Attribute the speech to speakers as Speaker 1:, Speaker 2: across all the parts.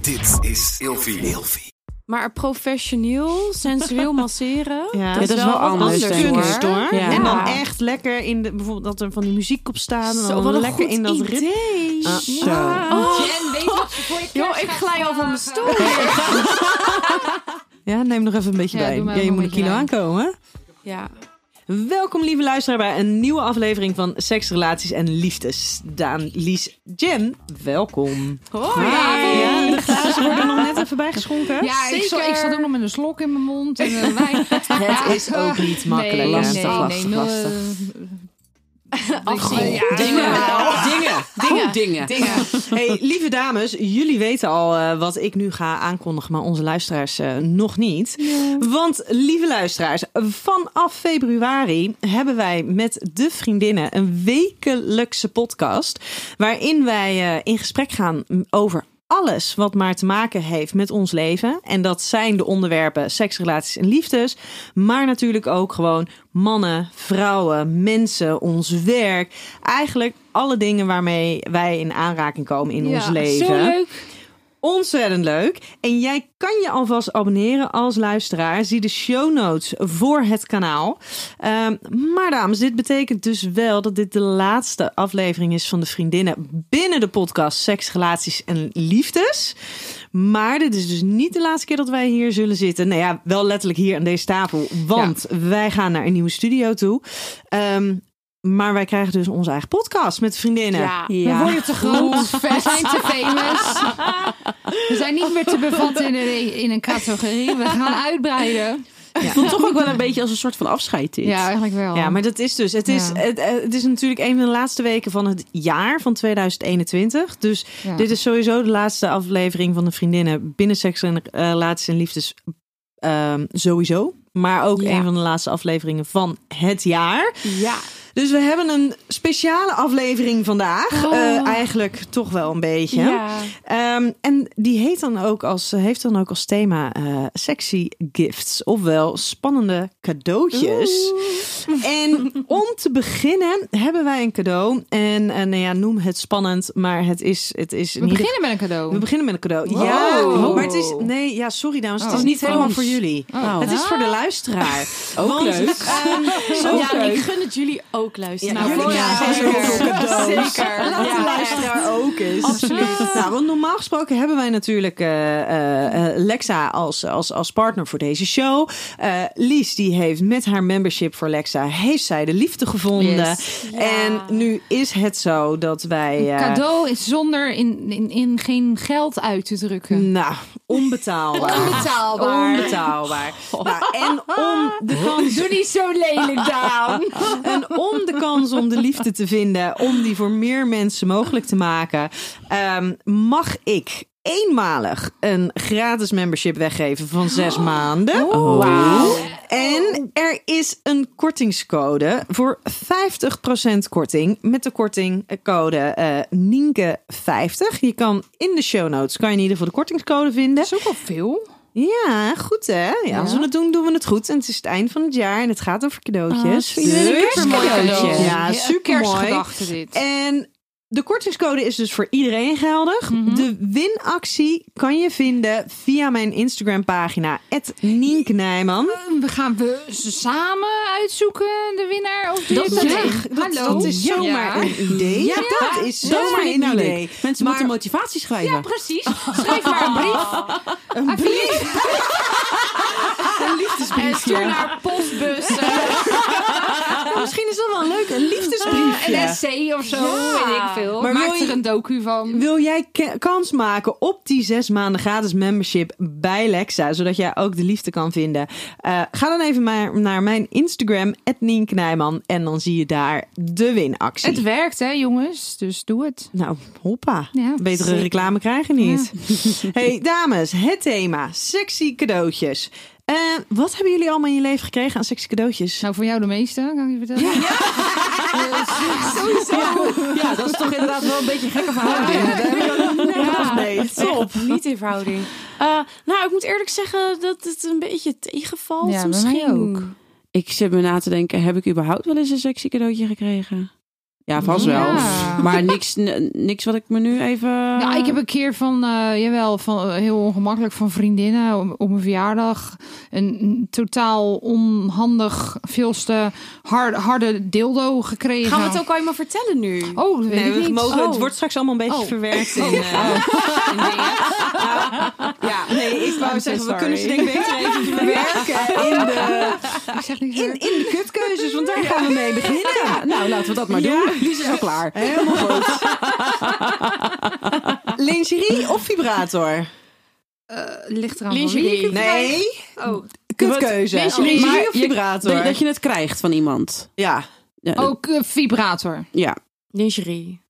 Speaker 1: Dit is Ilfie.
Speaker 2: Maar professioneel, sensueel masseren.
Speaker 3: Ja, dat is wel
Speaker 2: wat
Speaker 3: anders, denk ik.
Speaker 2: kunst, hoor.
Speaker 3: hoor.
Speaker 2: Ja.
Speaker 3: En dan echt lekker in de, bijvoorbeeld dat er van die muziek op staan. En
Speaker 2: Zo,
Speaker 3: dan
Speaker 2: wat een
Speaker 3: lekker
Speaker 2: goed
Speaker 3: in dat
Speaker 2: idee.
Speaker 3: ritme. Ah, zo.
Speaker 4: En weet wat je voor je
Speaker 2: Yo,
Speaker 4: kerst
Speaker 2: Oh, ik
Speaker 4: gaat
Speaker 2: glij al van mijn
Speaker 4: vragen?
Speaker 2: stoel.
Speaker 3: Ja, neem nog even een beetje
Speaker 4: Ja,
Speaker 3: bij.
Speaker 4: doe maar
Speaker 3: Ja, je
Speaker 4: nog
Speaker 3: moet
Speaker 4: een
Speaker 3: een kilo
Speaker 4: beetje
Speaker 3: aankomen.
Speaker 2: Ja.
Speaker 3: Welkom, lieve luisteraar, bij een nieuwe aflevering van Seks, Relaties en Liefdes. Daan, Lies, Jen, welkom.
Speaker 2: Hoi.
Speaker 3: Ja, de glazen worden nog net even bijgeschonken.
Speaker 4: Ja, ik zat,
Speaker 2: Zeker.
Speaker 4: ik zat ook nog met een slok in mijn mond. En een wijn.
Speaker 3: Het is ook niet makkelijk. hè?
Speaker 4: lastig,
Speaker 3: Lastig,
Speaker 4: nee, eh,
Speaker 3: lastig,
Speaker 4: nee,
Speaker 3: lastig.
Speaker 4: Afgezien.
Speaker 5: Dingen.
Speaker 2: Ja.
Speaker 5: Dingen. Dingen. Dingen.
Speaker 2: Dingen.
Speaker 3: Hey, lieve dames, jullie weten al eh, wat ik nu ga aankondigen, maar onze luisteraars eh, nog niet. Want lieve luisteraars, vanaf februari hebben wij met de vriendinnen een wekelijkse podcast. Waarin wij eh, in gesprek gaan over alles wat maar te maken heeft met ons leven. En dat zijn de onderwerpen seks, relaties en liefdes. Maar natuurlijk ook gewoon mannen, vrouwen, mensen, ons werk. Eigenlijk alle dingen waarmee wij in aanraking komen in ons leven.
Speaker 4: Zo leuk.
Speaker 3: Ontzettend leuk. En jij kan je alvast abonneren als luisteraar. Zie de show notes voor het kanaal. Ehm, maar dames, dit betekent dus wel dat dit de laatste aflevering is van de vriendinnen binnen de podcast Seks, Relaties en Liefdes. Maar dit is dus niet de laatste keer dat wij hier zullen zitten. Nou ja, wel letterlijk hier aan deze tafel. Want wij gaan naar een nieuwe studio toe. Ehm, maar wij krijgen dus onze eigen podcast met de vriendinnen.
Speaker 2: Ja.
Speaker 4: We worden te groot. We zijn te famous. We zijn niet meer te bevatten in een, in een categorie. We gaan uitbreiden.
Speaker 5: Het voelt toch ook wel een beetje als een soort van afscheid dit.
Speaker 4: Ja, eigenlijk wel.
Speaker 3: Ja, maar dat is dus. Het is,
Speaker 4: Oh. Ja.
Speaker 3: het, eh, het is natuurlijk een van de laatste weken van het jaar van 2021. Dus
Speaker 4: Ja.
Speaker 3: dit is sowieso de laatste aflevering van de vriendinnen binnen seks en eh, relaties en liefdes. ehm, sowieso. Maar ook
Speaker 2: Ja.
Speaker 3: een van de laatste afleveringen van het jaar.
Speaker 2: Ja.
Speaker 3: Dus we hebben een speciale aflevering vandaag.
Speaker 2: Oh.
Speaker 3: Eh, eigenlijk toch wel een beetje. Ehm, en die heet dan ook als, heeft dan ook als thema eh, sexy gifts, ofwel spannende cadeautjes. En om te beginnen hebben wij een cadeau. En eh, nou ja, noem het spannend, maar het is, het is
Speaker 4: We
Speaker 3: in ieder-
Speaker 4: beginnen met een cadeau.
Speaker 3: We beginnen met een cadeau. Ja,
Speaker 5: Wow.
Speaker 3: maar het is. Nee, ja, sorry dames. Het
Speaker 4: Oh.
Speaker 3: is niet helemaal
Speaker 5: Ons.
Speaker 3: voor jullie.
Speaker 4: Oh.
Speaker 3: Het is voor de luisteraar.
Speaker 5: Ook
Speaker 3: Want,
Speaker 5: leuk.
Speaker 3: ehm, zo
Speaker 2: Ja, ik gun het jullie ook Nou, luisteren.
Speaker 3: Ja, jullie krijgen zoveel cadeaus.
Speaker 2: Zeker.
Speaker 3: Laat de
Speaker 2: Ja.
Speaker 3: luisteraar ook eens.
Speaker 2: Absoluut.
Speaker 3: Nou, want normaal gesproken hebben wij natuurlijk eh, eh, eh, Lexa als, als, als partner voor deze show. Eh, Lies, die heeft met haar membership voor Lexa, heeft zij de liefde gevonden.
Speaker 4: Yes.
Speaker 3: En nu is het zo dat wij... eh,
Speaker 4: Cadeau is zonder in, in, in geen geld uit te drukken.
Speaker 3: Nou, onbetaalbaar.
Speaker 4: Onbetaalbaar. Oh.
Speaker 3: Onbetaalbaar. Nou, en om de kans
Speaker 4: Doe niet zo lelijk, Daan.
Speaker 3: En om de kans om de liefde te vinden, om die voor meer mensen mogelijk te maken, ehm, mag ik eenmalig een gratis membership weggeven van
Speaker 4: Oh.
Speaker 3: zes maanden. En er is een kortingscode voor 50% korting met de kortingcode eh Nienke50. Je kan in de show notes kan je in ieder geval de kortingscode vinden.
Speaker 4: Dat is ook wel veel.
Speaker 3: Ja, goed hè. Ja, als we het doen, doen we het goed. En het is het eind van het jaar en het gaat over cadeautjes.
Speaker 2: Ah, super
Speaker 3: Dus-
Speaker 2: Supermooi cadeau.
Speaker 3: Ja, super mooi.
Speaker 4: Kerstgedachte dit.
Speaker 3: En de kortingscode is dus voor iedereen geldig. De winactie kan je vinden via mijn Instagram pagina Nienke Nijman.
Speaker 4: Ehm, We gaan we ze samen uitzoeken, de winnaar? Of doe
Speaker 5: Dat
Speaker 4: je dat,
Speaker 5: is-
Speaker 4: echt?
Speaker 3: Dat,
Speaker 4: Hallo?
Speaker 3: dat is
Speaker 4: Ja.
Speaker 3: zomaar een idee. Ja, dat is zomaar
Speaker 5: vind ik
Speaker 3: een
Speaker 5: nou
Speaker 3: idee.
Speaker 5: leuk. Mensen
Speaker 3: Maar-
Speaker 5: moeten motivatie schrijven.
Speaker 4: Ja, precies. Schrijf maar een brief. Een brief?
Speaker 2: En stuur naar postbus.
Speaker 4: eh,
Speaker 3: Maar Nou, misschien is dat wel leuk, een liefdesbriefje.
Speaker 4: Een essay of zo, weet ik veel.
Speaker 3: Maar
Speaker 4: Maar
Speaker 3: wil
Speaker 4: Maak
Speaker 3: je-
Speaker 4: er een docu van.
Speaker 3: Wil jij ke- kans maken op die zes maanden gratis membership bij Lexa, zodat jij ook de liefde kan vinden? Eh, ga dan even maar naar mijn Instagram, Nienke Nijman, en dan zie je daar de winactie.
Speaker 4: Het werkt, hè, jongens. Dus doe het.
Speaker 3: Nou, hoppa.
Speaker 4: Ja.
Speaker 3: Betere
Speaker 4: Zeker.
Speaker 3: reclame krijgen niet. hey, dames, het thema: sexy cadeautjes. Eh, wat hebben jullie allemaal in je leven gekregen aan sexy cadeautjes?
Speaker 4: Nou, voor jou de meeste, kan ik je vertellen.
Speaker 5: Ja, dat is toch inderdaad wel een beetje een gekke verhouding.
Speaker 2: Ja.
Speaker 3: Nee, top.
Speaker 2: Niet in verhouding. Eh, nou, ik moet eerlijk zeggen dat het een beetje tegenvalt
Speaker 4: Ja, bij mij
Speaker 2: misschien.
Speaker 4: ook.
Speaker 5: Ik zit me na te denken, heb ik überhaupt wel eens een sexy cadeautje gekregen? Ja, vast wel.
Speaker 4: Ja.
Speaker 5: Maar niks, n- niks wat ik me nu even...
Speaker 4: Nou, ik heb een keer van, eh, jawel, van, eh, heel ongemakkelijk van vriendinnen om- op mijn verjaardag. Een, een totaal onhandig, veelste hard, harde dildo gekregen.
Speaker 2: Gaan we het ook allemaal vertellen nu?
Speaker 4: Oh, dat weet
Speaker 3: Nee,
Speaker 4: ik
Speaker 3: we
Speaker 4: niet.
Speaker 3: mogen, het
Speaker 2: Oh.
Speaker 3: wordt straks allemaal een beetje
Speaker 2: Oh.
Speaker 3: verwerkt in, eh,
Speaker 4: Ah.
Speaker 3: in dingen. Nou, ja, nee, ik wou
Speaker 2: I'm so
Speaker 3: zeggen, we
Speaker 2: sorry.
Speaker 3: kunnen ze denk ik beter even verwerken in de,
Speaker 4: Ik zeg niks
Speaker 3: in,
Speaker 4: meer.
Speaker 3: in de kutkeuzes, want daar gaan we mee beginnen.
Speaker 5: Ja, nou, laten we dat maar
Speaker 3: Ja.
Speaker 5: doen. Lies is al klaar.
Speaker 3: Helemaal goed. Lingerie of vibrator?
Speaker 4: Eh, Ligt eraan van wie.
Speaker 2: Lingerie.
Speaker 3: Nee,
Speaker 2: Oh.
Speaker 3: kutkeuze.
Speaker 2: Wat? Lingerie
Speaker 3: Lingerie of
Speaker 5: je-
Speaker 3: vibrator?
Speaker 5: Dat- Dat je het krijgt van iemand.
Speaker 3: Ja.
Speaker 5: Ja.
Speaker 4: Ook eh, vibrator.
Speaker 5: Ja.
Speaker 2: Lingerie.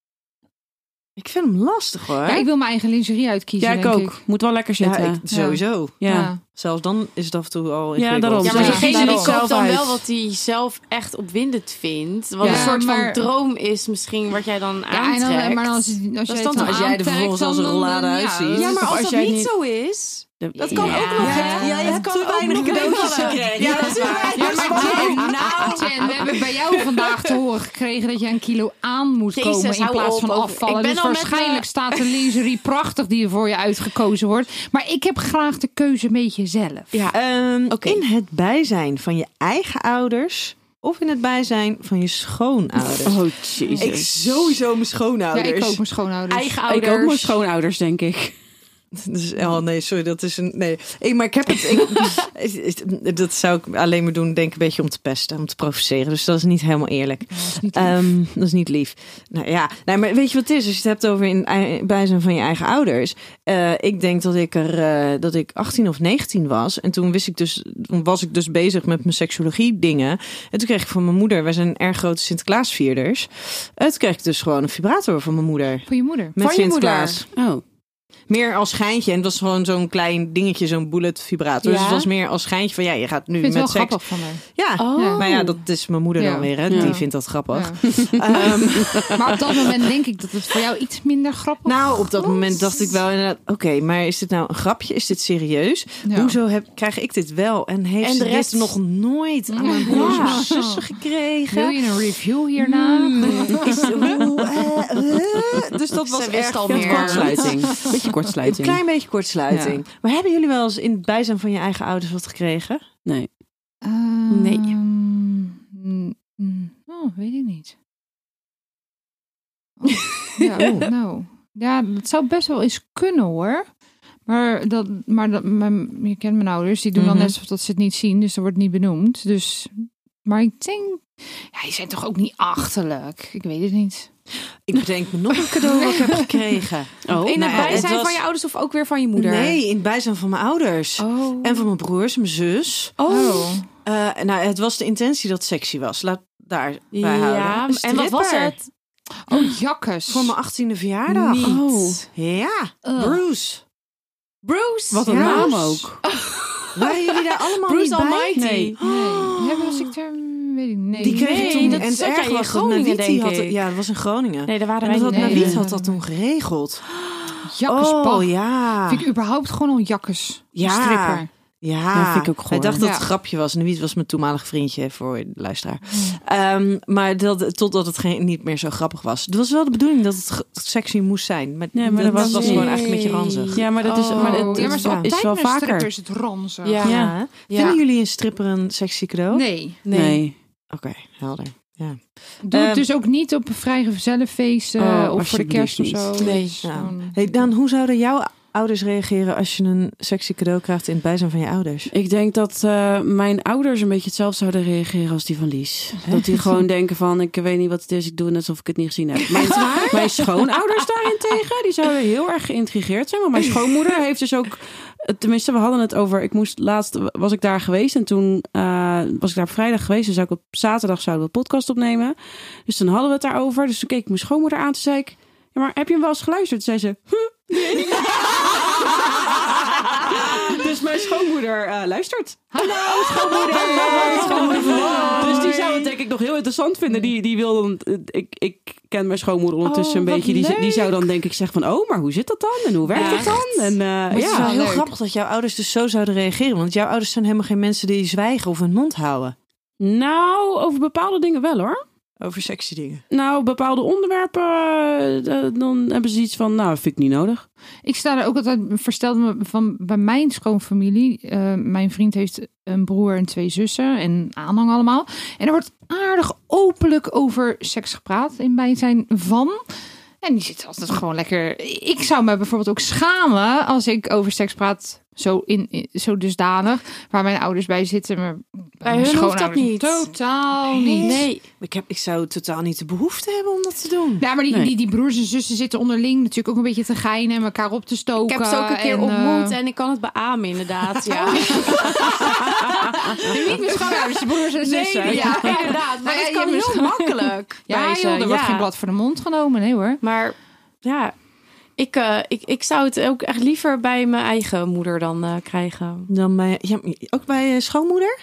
Speaker 3: Ik vind hem lastig hoor.
Speaker 4: Ja, ik wil mijn eigen lingerie uitkiezen,
Speaker 5: ja, ik
Speaker 4: denk
Speaker 5: ook. Moet wel lekker
Speaker 3: Ja,
Speaker 5: zitten. Ja,
Speaker 3: ik- sowieso.
Speaker 5: ja.
Speaker 3: Zelfs dan is het af en toe al
Speaker 5: Ja,
Speaker 3: ingewikkeld.
Speaker 5: daarom.
Speaker 2: Ja, maar
Speaker 4: Ja,
Speaker 2: diegene die
Speaker 4: daarom.
Speaker 2: koopt
Speaker 5: Zelf
Speaker 2: dan
Speaker 5: uit.
Speaker 2: wel wat hij zelf echt opwindend vindt. Wat
Speaker 4: Ja,
Speaker 2: een soort van
Speaker 4: maar-
Speaker 2: droom is misschien wat jij dan
Speaker 4: Ja, en
Speaker 2: aantrekt.
Speaker 4: dan, eh, maar als, als, je
Speaker 2: dan
Speaker 4: het
Speaker 2: toch-
Speaker 3: als jij er
Speaker 4: aantrekt,
Speaker 3: vervolgens
Speaker 4: dan-
Speaker 3: als een
Speaker 4: dan-
Speaker 3: rollade
Speaker 4: ja,
Speaker 3: uitziet.
Speaker 4: dat
Speaker 2: Ja,
Speaker 4: is-
Speaker 2: maar
Speaker 5: Of
Speaker 2: als
Speaker 5: als
Speaker 2: dat
Speaker 5: jij
Speaker 2: niet
Speaker 5: niet-
Speaker 2: zo is...
Speaker 5: Dat
Speaker 2: kan ook nog,
Speaker 3: Ja,
Speaker 2: hè?
Speaker 3: ja, je hebt te weinig cadeautjes gekregen.
Speaker 2: Ja, dat is waar.
Speaker 4: Ja, maar
Speaker 2: Nou,
Speaker 4: Jen, Oh, Jen, we hebben bij jou vandaag te horen gekregen dat je een kilo aan moet
Speaker 2: Jezus,
Speaker 4: komen in
Speaker 2: hou
Speaker 4: plaats
Speaker 2: op
Speaker 4: van
Speaker 2: over-
Speaker 4: afvallen.
Speaker 2: Ik ben
Speaker 4: dus
Speaker 2: al met
Speaker 4: waarschijnlijk
Speaker 2: de-
Speaker 4: staat de lingerie prachtig die er voor je uitgekozen wordt. Maar ik heb graag de keuze met jezelf.
Speaker 2: Ja.
Speaker 3: Ehm,
Speaker 2: Oké.
Speaker 3: In het bijzijn van je eigen ouders of in het bijzijn van je schoonouders?
Speaker 5: Oh, jezus.
Speaker 3: Ik sowieso mijn
Speaker 4: Ja,
Speaker 3: schoonouders.
Speaker 4: ik ook mijn schoonouders.
Speaker 2: Eigen
Speaker 5: Ik
Speaker 2: ouders.
Speaker 5: ook mijn schoonouders, denk ik.
Speaker 3: Dus- oh nee, sorry, dat is een. Nee, ik, maar ik heb het. Ik, is- is- dat zou ik alleen maar doen, denk ik, een beetje om te pesten, om te provoceren. Dus dat is niet helemaal eerlijk.
Speaker 4: Ja, dat is niet lief.
Speaker 3: Ehm, dat is niet lief. Nou ja, nee, maar weet je wat het is? Als je het hebt over in ei- bijzijn van je eigen ouders. Eh, ik denk dat ik er eh, dat ik 18 of 19 was. En toen wist ik dus, toen was ik dus bezig met mijn seksologie dingen. En toen kreeg ik van mijn moeder, wij zijn erg grote Sinterklaasvierders. Eh, toen kreeg ik dus gewoon een vibrator van mijn moeder.
Speaker 4: Voor je moeder.
Speaker 3: Met
Speaker 2: Van je
Speaker 3: Sinterklaas.
Speaker 5: Oh.
Speaker 3: Meer als schijntje. En het was gewoon zo'n klein dingetje, zo'n bullet vibrator.
Speaker 2: Ja.
Speaker 3: Dus het was meer als schijntje van ja, je gaat nu
Speaker 4: Ik vind het wel
Speaker 3: met seks.
Speaker 4: grappig van haar.
Speaker 3: Ja.
Speaker 2: Oh.
Speaker 3: Maar Nou ja, dat is mijn moeder
Speaker 4: Ja.
Speaker 3: dan weer. Hè?
Speaker 5: Ja.
Speaker 3: Die vindt dat grappig.
Speaker 4: Ja.
Speaker 3: Ehm,
Speaker 4: Maar op dat moment denk ik dat het voor jou iets minder grappig
Speaker 3: Nou, op dat
Speaker 4: God.
Speaker 3: moment dacht ik wel inderdaad... Oké, maar is dit nou een grapje? Is dit serieus?
Speaker 4: Ja.
Speaker 3: Hoezo heb, krijg ik dit wel? En heeft
Speaker 2: En
Speaker 3: ze
Speaker 2: de rest-
Speaker 3: dit nog nooit aan mijn broers
Speaker 2: Ja.
Speaker 3: of mijn zussen
Speaker 4: Wil
Speaker 3: gekregen?
Speaker 4: je een review hierna?
Speaker 3: Hmm, Is, hoe, eh, eh? Dus dat
Speaker 2: Ze
Speaker 3: was
Speaker 2: wist
Speaker 3: echt
Speaker 2: al
Speaker 3: veel
Speaker 2: meer.
Speaker 5: Kortsluiting.
Speaker 3: kortsluiting.
Speaker 5: Beetje
Speaker 3: Een
Speaker 5: kortsluiting.
Speaker 3: klein beetje kortsluiting. Maar hebben jullie wel eens in het bijzijn van je eigen ouders wat gekregen?
Speaker 5: Nee.
Speaker 4: Ehm,
Speaker 2: Nee.
Speaker 4: mm, mm, Oh, weet ik niet. Oh, ja,
Speaker 3: Oeh.
Speaker 4: nou. Ja, dat zou best wel eens kunnen hoor. Maar, dat, maar dat, mijn, je kent mijn ouders, die doen
Speaker 3: Mhm.
Speaker 4: dan net alsof dat ze het niet zien, dus dat wordt niet benoemd. Dus, maar ik denk, ja, die zijn toch ook niet achterlijk? Ik weet het niet.
Speaker 3: Ik bedenk me nog een cadeau wat ik heb gekregen.
Speaker 5: Oh.
Speaker 2: In
Speaker 3: Nou
Speaker 2: het
Speaker 3: ja,
Speaker 2: bijzijn
Speaker 3: het was-
Speaker 2: van je ouders of ook weer van je moeder?
Speaker 3: Nee, in het bijzijn van mijn ouders.
Speaker 4: Oh.
Speaker 3: En van mijn broers, mijn zus.
Speaker 2: Oh.
Speaker 3: Eh, nou, het was de intentie dat het sexy was. Laat daar bij houden.
Speaker 2: Ja,
Speaker 3: Een
Speaker 2: en wat was
Speaker 3: stripper.
Speaker 2: het?
Speaker 4: Oh, jakkes.
Speaker 3: Voor mijn achttiende verjaardag. Oh.
Speaker 2: Niet.
Speaker 3: Ja,
Speaker 4: Ugh.
Speaker 3: Bruce.
Speaker 2: Bruce.
Speaker 5: Wat een
Speaker 3: Ja.
Speaker 5: naam ook.
Speaker 3: Waren jullie daar allemaal
Speaker 2: Bruce
Speaker 3: niet bij?
Speaker 2: Almighty.
Speaker 5: Nee.
Speaker 4: Nee, ja, was ik er... Weet ik niet.
Speaker 3: Die kreeg
Speaker 2: Nee,
Speaker 3: ik toen.
Speaker 2: dat
Speaker 3: en het
Speaker 2: zat jij
Speaker 3: erg
Speaker 2: in
Speaker 3: was dat
Speaker 2: Groningen,
Speaker 3: Nawit, die
Speaker 2: denk
Speaker 3: had
Speaker 2: ik.
Speaker 3: het- Ja, dat was in Groningen.
Speaker 2: Nee, daar waren
Speaker 3: en
Speaker 2: wij
Speaker 3: dat had
Speaker 2: niet.
Speaker 3: Nawit
Speaker 4: Nee.
Speaker 3: had dat toen geregeld.
Speaker 4: Jakkerspak.
Speaker 3: Oh ja.
Speaker 4: Vind ik überhaupt gewoon al jakkers.
Speaker 3: Ja.
Speaker 4: Stripper.
Speaker 3: Ja,
Speaker 5: Ja, vind ik ook
Speaker 3: Hij
Speaker 5: goor.
Speaker 3: dacht dat het
Speaker 4: Ja.
Speaker 3: grapje was. Nuit was mijn toenmalig vriendje voor de luisteraar. Ehm, maar dat, totdat het geen, niet meer zo grappig was. Het was wel de bedoeling dat het ge- sexy moest zijn. Maar,
Speaker 5: Nee, maar
Speaker 3: dat
Speaker 5: dat
Speaker 3: was,
Speaker 5: was niet.
Speaker 3: gewoon eigenlijk een beetje ranzig.
Speaker 5: Ja, maar dat is,
Speaker 2: Oh.
Speaker 5: maar het,
Speaker 4: ja, maar het is
Speaker 5: is,
Speaker 4: altijd
Speaker 5: wel
Speaker 4: met een stripper
Speaker 5: vaker.
Speaker 4: is het ranzig.
Speaker 2: Ja.
Speaker 5: Ja.
Speaker 2: Ja.
Speaker 3: Vinden jullie een stripper een sexy cadeau?
Speaker 4: Nee.
Speaker 2: Nee.
Speaker 3: Oké, helder.
Speaker 4: Doe
Speaker 3: Ehm,
Speaker 4: het dus ook niet op vrijgezellenfeesten
Speaker 5: Oh,
Speaker 4: eh, of voor de
Speaker 5: alsjeblieft
Speaker 4: kerst of
Speaker 5: niet.
Speaker 4: zo.
Speaker 2: Nee.
Speaker 4: Dus
Speaker 3: Ja.
Speaker 4: gewoon-
Speaker 3: Hey, Dan, hoe zouden jouw ouders reageren als je een sexy cadeau krijgt in het bijzijn van je ouders?
Speaker 5: Ik denk dat eh, mijn ouders een beetje hetzelfde zouden reageren als die van Lies. Dat die gewoon denken van, ik weet niet wat het is, ik doe net alsof ik het niet gezien heb. Mijn, mijn schoonouders daarentegen, die zouden heel erg geïntrigeerd zijn. Want mijn schoonmoeder heeft dus ook, tenminste we hadden het over, ik moest laatst, was ik daar geweest en toen eh, was ik daar op vrijdag geweest. En zou ik op zaterdag zouden we een podcast opnemen. Dus toen hadden we het daarover. Dus toen keek ik mijn schoonmoeder aan, toen zei ik, ja, maar heb je hem wel eens geluisterd? Zei ze, "Huh, nee." dus mijn schoonmoeder eh, luistert.
Speaker 4: Hallo, schoonmoeder.
Speaker 5: Dus die zou het denk ik nog heel interessant vinden. Die, die wil dan, eh, ik, ik ken mijn schoonmoeder ondertussen
Speaker 2: Oh,
Speaker 5: een
Speaker 2: wat
Speaker 5: beetje. Die, die
Speaker 2: leuk.
Speaker 5: zou dan denk ik zeggen van, oh, maar hoe zit dat dan? En hoe werkt
Speaker 2: Echt?
Speaker 5: dat dan? En eh,
Speaker 3: Maar het is wel
Speaker 5: ja.
Speaker 3: heel
Speaker 4: leuk.
Speaker 3: grappig dat jouw ouders dus zo zouden reageren. Want jouw ouders zijn helemaal geen mensen die zwijgen of hun mond houden.
Speaker 5: Nou, over bepaalde dingen wel hoor.
Speaker 3: Over sexy dingen.
Speaker 5: Nou, bepaalde onderwerpen, eh, eh, dan hebben ze iets van, nou, vind ik niet nodig.
Speaker 4: Ik sta er ook altijd versteld me van bij mijn schoonfamilie. eh, mijn vriend heeft een broer en twee zussen en aanhang allemaal. En er wordt aardig openlijk over seks gepraat in bijzijn van. En die zit altijd gewoon lekker. Ik zou me bijvoorbeeld ook schamen als ik over seks praat. Zo, in, in- zo dusdanig, waar mijn ouders bij zitten. Maar
Speaker 2: Bij
Speaker 4: mijn
Speaker 2: hun hoeft dat
Speaker 4: schoonouders
Speaker 2: niet.
Speaker 4: Totaal niet.
Speaker 2: Nee.
Speaker 3: Ik, heb, ik zou totaal niet de behoefte hebben om dat te doen.
Speaker 4: Ja, maar die,
Speaker 5: Nee.
Speaker 4: die, die broers en zussen zitten onderling natuurlijk ook een beetje te geinen en elkaar op te stoken.
Speaker 2: Ik heb ze ook een keer
Speaker 4: en, eh,
Speaker 2: ontmoet en ik kan het beamen inderdaad. Ja.
Speaker 4: Niet mijn schoonouders, de broers en zussen.
Speaker 2: Nee,
Speaker 4: ja.
Speaker 2: ja, inderdaad. Maar
Speaker 4: Nou ja,
Speaker 2: dat
Speaker 4: je
Speaker 2: kan
Speaker 4: hebt
Speaker 2: heel
Speaker 4: misschien-
Speaker 2: makkelijk.
Speaker 4: Ja,
Speaker 2: bij
Speaker 4: joh,
Speaker 2: ze,
Speaker 4: er wordt
Speaker 2: ja.
Speaker 4: geen blad voor de mond genomen. Nee hoor.
Speaker 2: Maar ja, ik, eh, ik, ik zou het ook echt liever bij mijn eigen moeder dan eh, krijgen.
Speaker 3: Dan bij, ja, ook bij eh, schoonmoeder?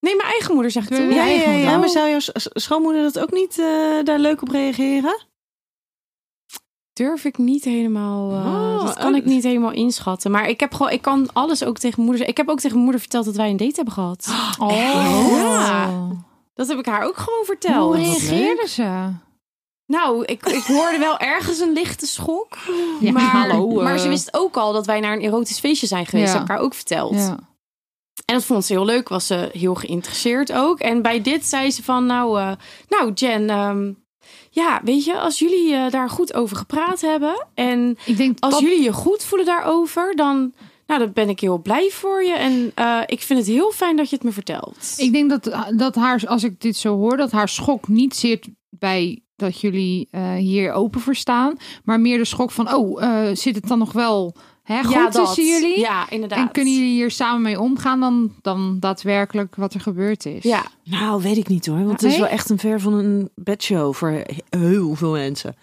Speaker 2: Nee, mijn eigen moeder zegt het.
Speaker 4: Ja,
Speaker 2: hoor.
Speaker 4: ja, ja, ja.
Speaker 3: Nou, maar zou jouw s- s- schoonmoeder dat ook niet eh, daar leuk op reageren?
Speaker 2: durf ik niet helemaal. eh,
Speaker 3: Oh,
Speaker 2: dat kan
Speaker 3: oh.
Speaker 2: ik niet helemaal inschatten. Maar ik heb gewoon, ik kan alles ook tegen mijn moeder. zeggen. Ik heb ook tegen mijn moeder verteld dat wij een date hebben gehad.
Speaker 4: Oh.
Speaker 2: Ja. Dat heb ik haar ook gewoon verteld.
Speaker 4: Hoe reageerden ze? Ja,
Speaker 2: Nou, ik, ik hoorde wel ergens een lichte schok. maar,
Speaker 4: hallo, eh.
Speaker 2: maar ze wist ook al dat wij naar een erotisch feestje zijn geweest.
Speaker 4: Ja.
Speaker 2: Heb ik haar ook verteld.
Speaker 4: Ja.
Speaker 2: En dat vond ze heel leuk. Was ze heel geïnteresseerd ook. En bij dit zei ze van, nou, eh, nou Jen, ehm, ja, weet je, als jullie eh, daar goed over gepraat hebben en
Speaker 4: Ik denk
Speaker 2: als
Speaker 4: dat-
Speaker 2: jullie je goed voelen daarover, dan, nou, dan ben ik heel blij voor je. En eh, ik vind het heel fijn dat je het me vertelt.
Speaker 4: Ik denk dat, dat haar, als ik dit zo hoor, dat haar schok niet zit bij dat jullie eh, hier open voor staan. Maar meer de schok van, oh, eh, zit het dan nog wel hè, goed
Speaker 2: dat.
Speaker 4: tussen jullie?
Speaker 2: Ja, inderdaad.
Speaker 4: En kunnen jullie hier samen mee omgaan dan, dan daadwerkelijk wat er gebeurd is?
Speaker 2: Ja,
Speaker 3: Nou, weet ik niet hoor. Want het is
Speaker 4: Nee?
Speaker 3: wel echt een ver van een bedshow voor he- heel veel mensen.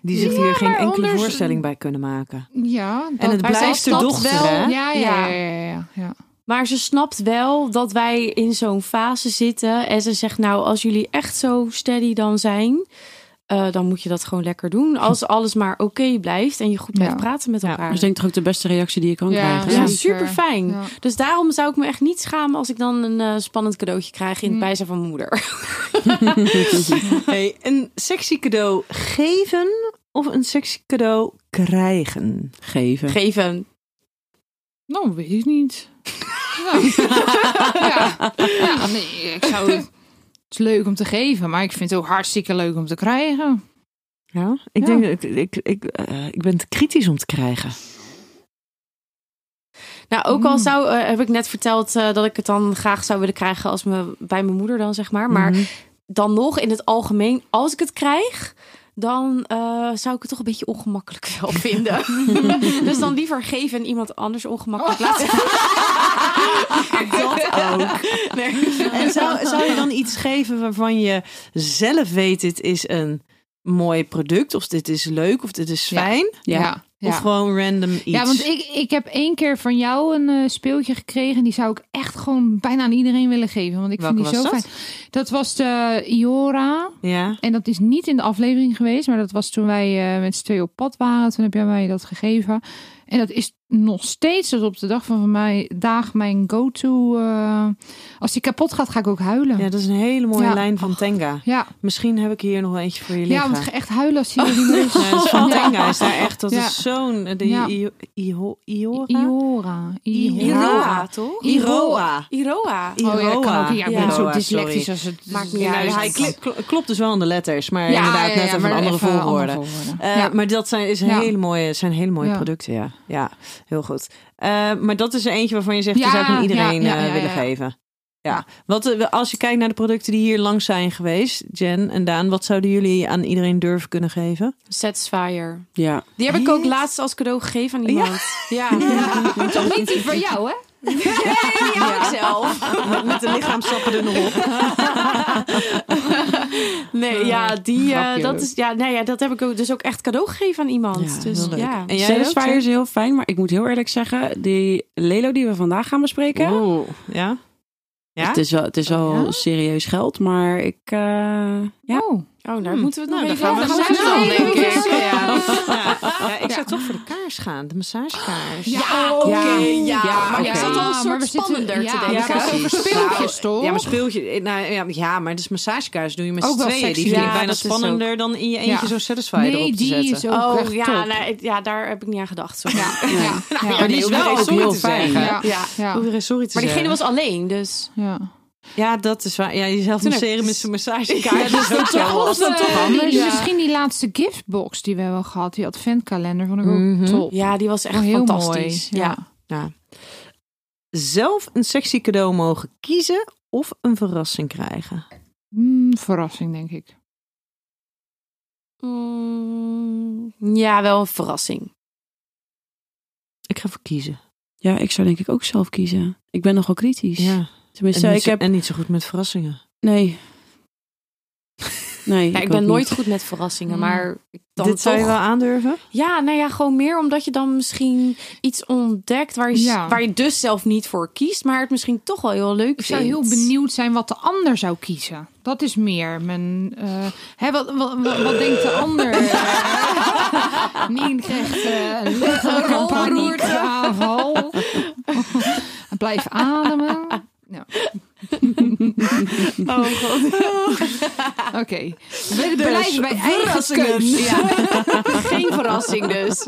Speaker 3: Die zich hier geen
Speaker 4: maar
Speaker 3: enkele
Speaker 4: anders-
Speaker 3: voorstelling bij kunnen maken.
Speaker 4: ja dat-
Speaker 3: En het
Speaker 2: maar
Speaker 3: blijft
Speaker 2: zelfs
Speaker 3: de
Speaker 2: dat
Speaker 3: dochter,
Speaker 2: wel-
Speaker 3: hè?
Speaker 4: Ja, ja, ja.
Speaker 2: Ja.
Speaker 4: ja, ja, ja.
Speaker 2: Maar ze snapt wel dat wij in zo'n fase zitten. En ze zegt, nou, als jullie echt zo steady dan zijn, eh, dan moet je dat gewoon lekker doen. Als alles maar oké blijft en je goed blijft
Speaker 4: Ja.
Speaker 2: praten met
Speaker 3: Ja,
Speaker 2: elkaar.
Speaker 5: Dat is denk dus ik toch ook de beste reactie die je kan
Speaker 4: Ja.
Speaker 5: krijgen.
Speaker 2: ja,
Speaker 4: zeker.
Speaker 2: super fijn.
Speaker 3: Mm.
Speaker 4: Ja.
Speaker 2: Dus daarom zou ik me echt niet schamen als ik dan een eh, spannend cadeautje krijg in het
Speaker 4: Mm.
Speaker 2: bijzijn van mijn moeder.
Speaker 3: Hey, een sexy cadeau geven of een sexy cadeau krijgen?
Speaker 5: Geven.
Speaker 2: Geven.
Speaker 4: Nou, weet ik niet. Ja. ja. Ja, nee, ik zou het... Het is leuk om te geven, maar ik vind het ook hartstikke leuk om te krijgen.
Speaker 3: Ja, ik
Speaker 4: Ja.
Speaker 3: denk ik, ik, ik, eh, ik ben te kritisch om te krijgen.
Speaker 2: Nou, ook al
Speaker 4: Mm.
Speaker 2: zou, eh, heb ik net verteld eh, dat ik het dan graag zou willen krijgen als me, bij mijn moeder dan, zeg maar. Maar
Speaker 3: Mhm.
Speaker 2: dan nog in het algemeen, als ik het krijg, dan eh, zou ik het toch een beetje ongemakkelijk wel vinden. dus dan liever geven en iemand anders ongemakkelijk laten.
Speaker 3: dat ook. En zou, zou je dan iets geven waarvan je zelf weet, dit is een mooi product, of dit is leuk, of dit is
Speaker 4: Ja.
Speaker 3: fijn?
Speaker 5: Ja.
Speaker 4: ja.
Speaker 3: Of gewoon random iets?
Speaker 4: Ja, want ik, ik heb één keer van jou een eh, speeltje gekregen. En die zou ik echt gewoon bijna aan iedereen willen geven. Want ik
Speaker 3: Welke
Speaker 4: vind die
Speaker 3: was
Speaker 4: zo
Speaker 3: dat?
Speaker 4: fijn. Dat was de Iora.
Speaker 3: Ja.
Speaker 4: En dat is niet in de aflevering geweest. Maar dat was toen wij eh, met z'n tweeën op pad waren. Toen heb jij mij dat gegeven. En dat is nog steeds tot op de dag van mij, dag mijn go-to. eh, als die kapot gaat, ga ik ook huilen.
Speaker 3: ja, dat is een hele mooie
Speaker 4: Ja.
Speaker 3: lijn van Tenga.
Speaker 4: Ja,
Speaker 3: Misschien heb ik hier nog eentje voor je
Speaker 4: ja
Speaker 3: liggen.
Speaker 4: want ga echt huilen als je die neus.
Speaker 3: Nee, dat is van
Speaker 4: Ja.
Speaker 3: Tenga is daar echt, dat
Speaker 4: Ja.
Speaker 3: is zo'n... De
Speaker 4: Ja.
Speaker 3: I- I- Oh. Iora?
Speaker 4: Iora. Iora.
Speaker 2: Iroa, toch?
Speaker 3: Iroa.
Speaker 2: Iroa.
Speaker 4: Oh ja, dat kan ook. Ja, ik ben
Speaker 2: Iroa,
Speaker 4: zo
Speaker 3: sorry.
Speaker 4: dyslectisch als het...
Speaker 2: Maakt niet
Speaker 4: Ja,
Speaker 2: uit.
Speaker 3: Nou,
Speaker 4: dus
Speaker 3: hij
Speaker 4: dat-
Speaker 3: kl- kl- klopt dus wel aan de letters, maar inderdaad net even
Speaker 4: maar
Speaker 3: een andere
Speaker 4: even
Speaker 3: volgorde.
Speaker 4: andere volgorde.
Speaker 3: Eh,
Speaker 4: Ja.
Speaker 3: Maar dat zijn, is een
Speaker 4: Ja.
Speaker 3: hele mooie, zijn hele mooie
Speaker 4: Ja.
Speaker 3: producten, ja. Ja, heel goed. Eh, maar dat is er eentje waarvan je zegt,
Speaker 4: Ja,
Speaker 3: die zou ik niet iedereen
Speaker 4: ja, ja,
Speaker 3: eh,
Speaker 4: ja,
Speaker 3: willen
Speaker 4: ja.
Speaker 3: geven. Ja, wat, eh, als je kijkt naar de producten die hier langs zijn geweest, Jen en Daan, wat zouden jullie aan iedereen durven kunnen geven?
Speaker 2: Satisfier.
Speaker 5: Ja.
Speaker 2: Die heb ik ook laatst als cadeau gegeven aan iemand. Ja, ja.
Speaker 4: Maar toch niet die van jou, hè?
Speaker 2: die hou ik zelf.
Speaker 3: Met de lichaamsappen er nog op.
Speaker 2: Nee, ja, die, eh,
Speaker 4: Grapje.
Speaker 2: dat is, ja, nee, ja, dat heb ik ook, dus ook echt cadeau gegeven aan iemand.
Speaker 3: Ja,
Speaker 2: dus
Speaker 3: heel leuk.
Speaker 2: ja.
Speaker 3: En jij ook,
Speaker 5: Satisfier
Speaker 3: Jen?
Speaker 5: is heel fijn, maar ik moet heel eerlijk zeggen, die Lelo die we vandaag gaan bespreken,
Speaker 3: Oeh, ja? Ja?
Speaker 5: het is wel, het is wel
Speaker 4: Ja?
Speaker 5: serieus geld, maar ik, eh, ja,
Speaker 4: Oh.
Speaker 2: Oh, daar moeten we het nog
Speaker 3: Nou,
Speaker 2: even
Speaker 3: daar
Speaker 2: over
Speaker 3: gaan we
Speaker 2: hebben.
Speaker 3: snel,
Speaker 2: Ja,
Speaker 3: denk ik.
Speaker 2: ja, ja.
Speaker 3: Ja, ja, ik zou toch voor de kaars gaan, de massagekaars.
Speaker 4: Ja,
Speaker 2: oké,
Speaker 5: Ja.
Speaker 2: ja.
Speaker 5: Ja,
Speaker 2: Maar ik
Speaker 5: oké.
Speaker 2: zat al een
Speaker 4: Ja, maar we
Speaker 2: soort
Speaker 4: zitten-
Speaker 2: spannender
Speaker 4: ja,
Speaker 2: te
Speaker 4: we
Speaker 2: denken.
Speaker 4: zitten over speeltjes, toch?
Speaker 3: Ja, maar speeltje. Nou, ja, ja, maar dus massagekaars doe je met
Speaker 4: Ook
Speaker 3: z'n
Speaker 4: wel
Speaker 3: tweeën.
Speaker 4: sexy.
Speaker 3: Die vind ik
Speaker 2: Ja,
Speaker 3: bijna
Speaker 2: dat is
Speaker 3: spannender dan in je eentje
Speaker 4: Ja.
Speaker 3: zo'n satisfier
Speaker 4: Nee,
Speaker 3: erop te
Speaker 4: die
Speaker 3: zetten.
Speaker 4: is ook-
Speaker 2: Oh
Speaker 4: echt
Speaker 2: ja,
Speaker 4: top.
Speaker 2: nou, ik- ja, daar heb ik niet aan gedacht. Sorry. Ja.
Speaker 4: Ja, ja,
Speaker 5: Maar die is
Speaker 3: hoef je
Speaker 5: wel
Speaker 3: geen
Speaker 5: ook
Speaker 3: sorry
Speaker 5: heel
Speaker 3: te
Speaker 5: fijn.
Speaker 3: zeggen.
Speaker 4: Ja.
Speaker 2: Ja.
Speaker 4: ja,
Speaker 3: Hoef je geen sorry te
Speaker 2: Maar diegene
Speaker 3: zeggen.
Speaker 2: was alleen, dus.
Speaker 4: ja.
Speaker 3: Ja, dat is waar. Ja, jezelf
Speaker 2: Toen
Speaker 3: masseren
Speaker 2: heb-
Speaker 3: met zo'n massagekaars.
Speaker 2: Ja, dat is
Speaker 3: wel
Speaker 2: toch
Speaker 3: wat.
Speaker 2: wel
Speaker 4: Eh,
Speaker 2: toch
Speaker 4: die-
Speaker 2: anders?
Speaker 4: Misschien die laatste giftbox die we hebben gehad. Die adventkalender vond ik ook top. Oh,
Speaker 2: Ja, die was echt
Speaker 4: Heel
Speaker 2: fantastisch.
Speaker 4: mooi.
Speaker 2: Ja.
Speaker 3: Ja. Zelf een sexy cadeau mogen kiezen of een verrassing krijgen.
Speaker 4: Mm, verrassing, denk ik.
Speaker 2: Mm, ja, wel een verrassing.
Speaker 3: Ik ga voor kiezen.
Speaker 5: Ja, ik zou denk ik ook zelf kiezen. Ik ben nogal kritisch.
Speaker 3: En,
Speaker 5: Tenminste,
Speaker 3: niet
Speaker 5: ik
Speaker 3: zo,
Speaker 5: heb...
Speaker 3: en niet zo goed met verrassingen.
Speaker 5: Nee. Nee,
Speaker 2: Ja, Nou, ik
Speaker 5: ook
Speaker 2: ben
Speaker 5: niet.
Speaker 2: nooit goed met verrassingen,
Speaker 4: Mm.
Speaker 2: maar ik dan
Speaker 3: Dit zou je
Speaker 2: toch-
Speaker 3: wel aandurven?
Speaker 2: Ja, nou ja, gewoon meer omdat je dan misschien iets ontdekt waar je,
Speaker 4: Ja.
Speaker 2: waar je dus zelf niet voor kiest, maar het misschien toch wel heel leuk
Speaker 4: Ik zou heel
Speaker 2: vindt.
Speaker 4: benieuwd zijn wat de ander zou kiezen. Dat is meer mijn. eh, hè, wat, wat, wat, wat denkt de ander? Eh, Nien krijgt eh, een lichtelijke
Speaker 2: Rolberoerte.
Speaker 4: paniekaanval. Blijf ademen. Nou,
Speaker 2: Oh god.
Speaker 4: Oké.
Speaker 5: Dus
Speaker 4: Blijf bij eigen keus.
Speaker 2: Ja. Geen verrassing dus.